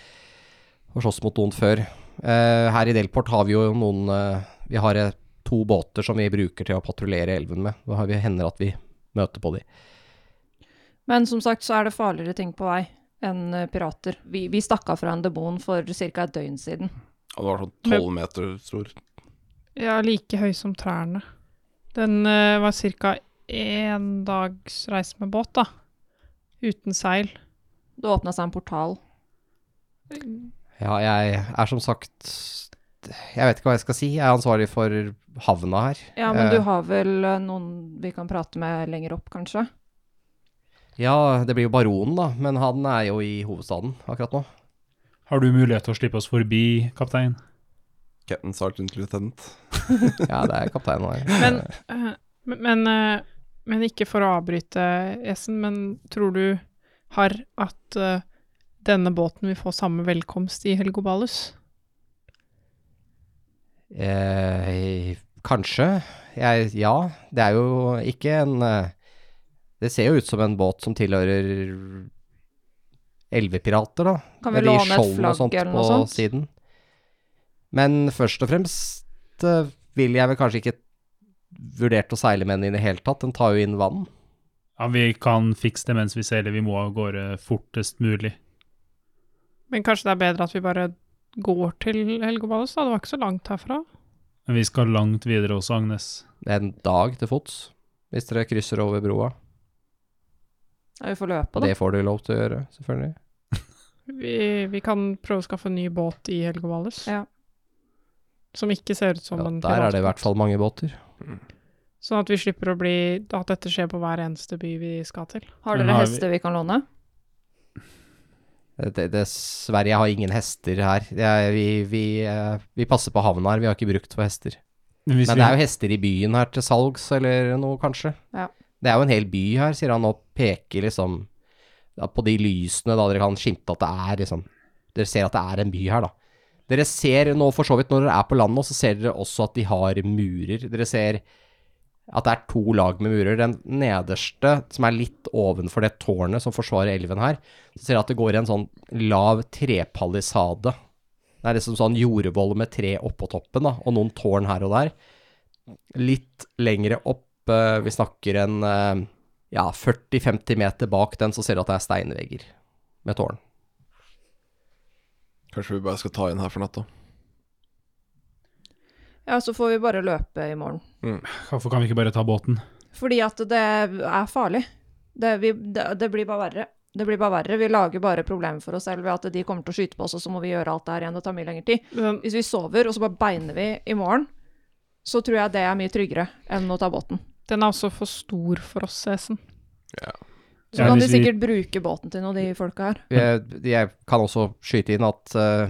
B: og slåss mot noen før. Eh, her i Delport har vi jo noen eh, Vi har eh, to båter som vi bruker til å patruljere elven med. Da har vi, hender at vi møter på de.
G: Men som sagt så er det farligere ting på vei enn eh, pirater. Vi, vi stakk av fra en demon for ca. et døgn siden.
A: Ja, det var sånn tolv meter stor.
E: Ja, like høy som trærne. Den eh, var ca. én dags reise med båt, da. Uten seil.
G: Det åpna seg en portal.
B: Ja, jeg er som sagt Jeg vet ikke hva jeg skal si. Jeg er ansvarlig for havna her.
G: Ja, men du
B: Eh,
G: har vel eh, noen vi kan prate med lenger opp, kanskje?
B: Ja, det blir jo baronen, da. Men han er jo i hovedstaden akkurat nå.
F: Har du mulighet til å slippe oss forbi, kaptein?
A: Captain Sergeant Lieutenant.
B: Ja, det er kapteinen her.
E: Men, eh, men, men, eh, men ikke for å avbryte, Esen, men tror du, Harr, at eh, denne båten vil få samme velkomst i Helgobalus?
B: Eh, kanskje. Jeg, ja, det er jo ikke en eh, Det ser jo ut som en båt som tilhører elvepirater, da.
G: Kan vi
B: Med de
G: låne et
B: skjoldene og
G: flagg
B: sånt
G: eller noe
B: på
G: sånt?
B: Siden. Men først og fremst eh, vil jeg vel kanskje ikke vurdert å seile med den i det hele tatt. Den tar jo inn vann.
F: Ja, vi kan fikse det mens vi seiler. Vi må av gårde fortest mulig.
E: Men kanskje det er bedre at vi bare går til Helgobalus, da? Det var ikke så langt herfra.
F: Men vi skal langt videre også, Agnes.
B: Det er en dag til fots hvis dere krysser over broa.
G: Ja, vi får løpe, da.
B: Det får du lov til å gjøre, selvfølgelig.
E: Vi, vi kan prøve å skaffe en ny båt i Helgobalus,
G: Ja.
E: som ikke ser ut som
B: Ja,
E: en
B: der er det i
E: piratbåt.
B: hvert fall mange båter.
E: Sånn at vi slipper å bli At dette skjer på hver eneste by vi skal til.
G: Har
F: Men
B: Mm,
G: dere
F: har vi-
G: hester vi kan låne?
B: Eh, Det, dessverre, jeg har ingen hester her. Jeg, vi, vi, eh, vi passer på havna her, vi har ikke brukt for hester.
F: Men hvis
B: Men det er
F: vi,
B: jo hester i byen her til salgs, eller noe, kanskje.
G: Ja.
B: Det er jo en hel by her, sier han, og peker liksom ja, på de lysene, da dere kan skimte at det er liksom Dere ser at det er en by her, da. Dere ser nå, for så vidt, når dere er på landet, så ser dere også at de har murer. Dere ser at det er to lag med murer. Den nederste, som er litt ovenfor det tårnet som forsvarer elven her, så ser dere at det går en sånn lav trepalisade. Det er liksom sånn jordvoll med tre oppå toppen, da, og noen tårn her og der litt lengre opp, eh, vi snakker en eh, ja, 40-50 meter bak den, så ser du at det er steinvegger med tårn.
A: Kanskje vi bare skal ta inn her for natta.
G: Ja, så får vi bare løpe i morgen.
F: Hvorfor kan vi ikke bare ta båten?
G: Fordi at det er farlig. Det, vi, det, det blir bare verre. Det blir bare verre. Vi lager bare problemer for oss selv ved at de kommer til å skyte på oss, og så må vi gjøre alt det her igjen. Det tar mye lengre tid.
E: Men
G: Hvis vi sover, og så bare beiner vi i morgen, så tror jeg det er mye tryggere enn å ta båten.
E: den er også for stor for oss, Esen.
G: Så
F: Ja,
G: kan de
F: hvis vi-
G: sikkert bruke båten til noe, de folka her.
B: Jeg, jeg kan også skyte inn at eh,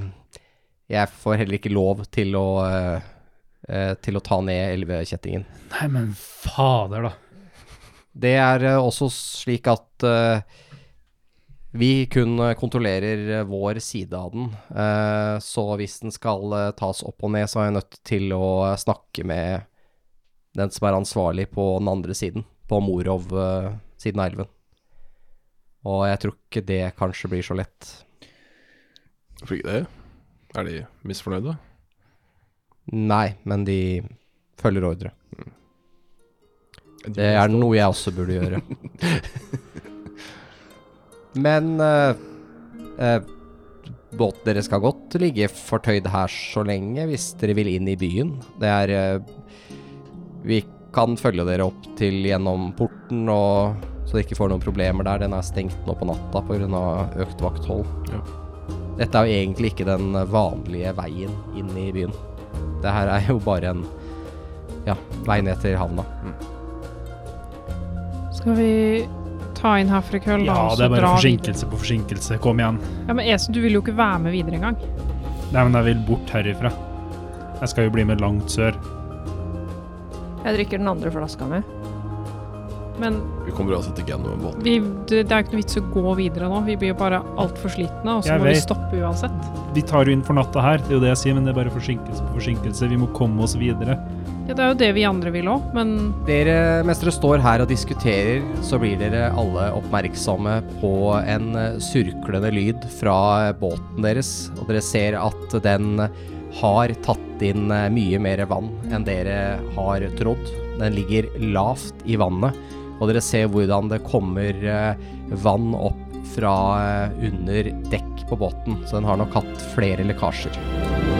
B: jeg får heller ikke lov til å, eh, eh, til å ta ned elvekjettingen.
F: Nei, men fader, da.
B: Det er eh, også slik at eh, vi kun eh, kontrollerer eh, vår side av den, eh, så hvis den skal eh, tas opp og ned, så er jeg nødt til å snakke eh, med Den som er ansvarlig på den andre siden, på Morov-siden av elven. Og jeg tror ikke det kanskje blir så lett.
A: Hvorfor ikke det? Er de misfornøyde?
B: Nei, men de følger ordre. Det er noe jeg også burde gjøre. Men eh, eh, båten deres skal godt ligge fortøyd her så lenge hvis dere vil inn i byen. Det er eh, Vi kan følge dere opp til gjennom porten og så dere ikke får noen problemer der. Den er stengt nå på natta pga. økt vakthold.
A: Ja.
B: Dette er jo egentlig ikke den vanlige veien inn i byen. Det her er jo bare en ja, vei ned til havna.
E: Skal vi ta inn herfra i kveld,
F: Ja,
E: da? og så
F: det er bare
E: dra
F: forsinkelse på forsinkelse. Kom igjen.
E: videre? Ja, men Esen, du vil jo ikke være med videre engang.
F: Nei, men jeg vil bort herifra. Jeg skal jo bli med langt sør.
G: Jeg drikker den andre flaska mi.
E: Men
A: Vi kommer uansett ikke gjennom båten.
E: vi, det, det er jo ikke noe vits å gå videre nå. Vi blir jo bare altfor slitne, og så
F: Jeg
E: må
F: vet.
E: vi stoppe uansett.
F: Vi tar jo inn for natta her, det er jo det jeg sier, men det er bare forsinkelse på forsinkelse. Vi må komme oss videre.
E: Ja, det er jo det vi andre vil òg, men
B: Dere, mens dere står her og diskuterer, så blir dere alle oppmerksomme på en eh, surklende lyd fra båten deres. Og dere ser at den har tatt inn eh, mye mer vann enn dere har trodd. Den ligger lavt i vannet, og dere ser hvordan det kommer eh, vann opp fra eh, under dekk på båten. Så den har nok hatt flere lekkasjer.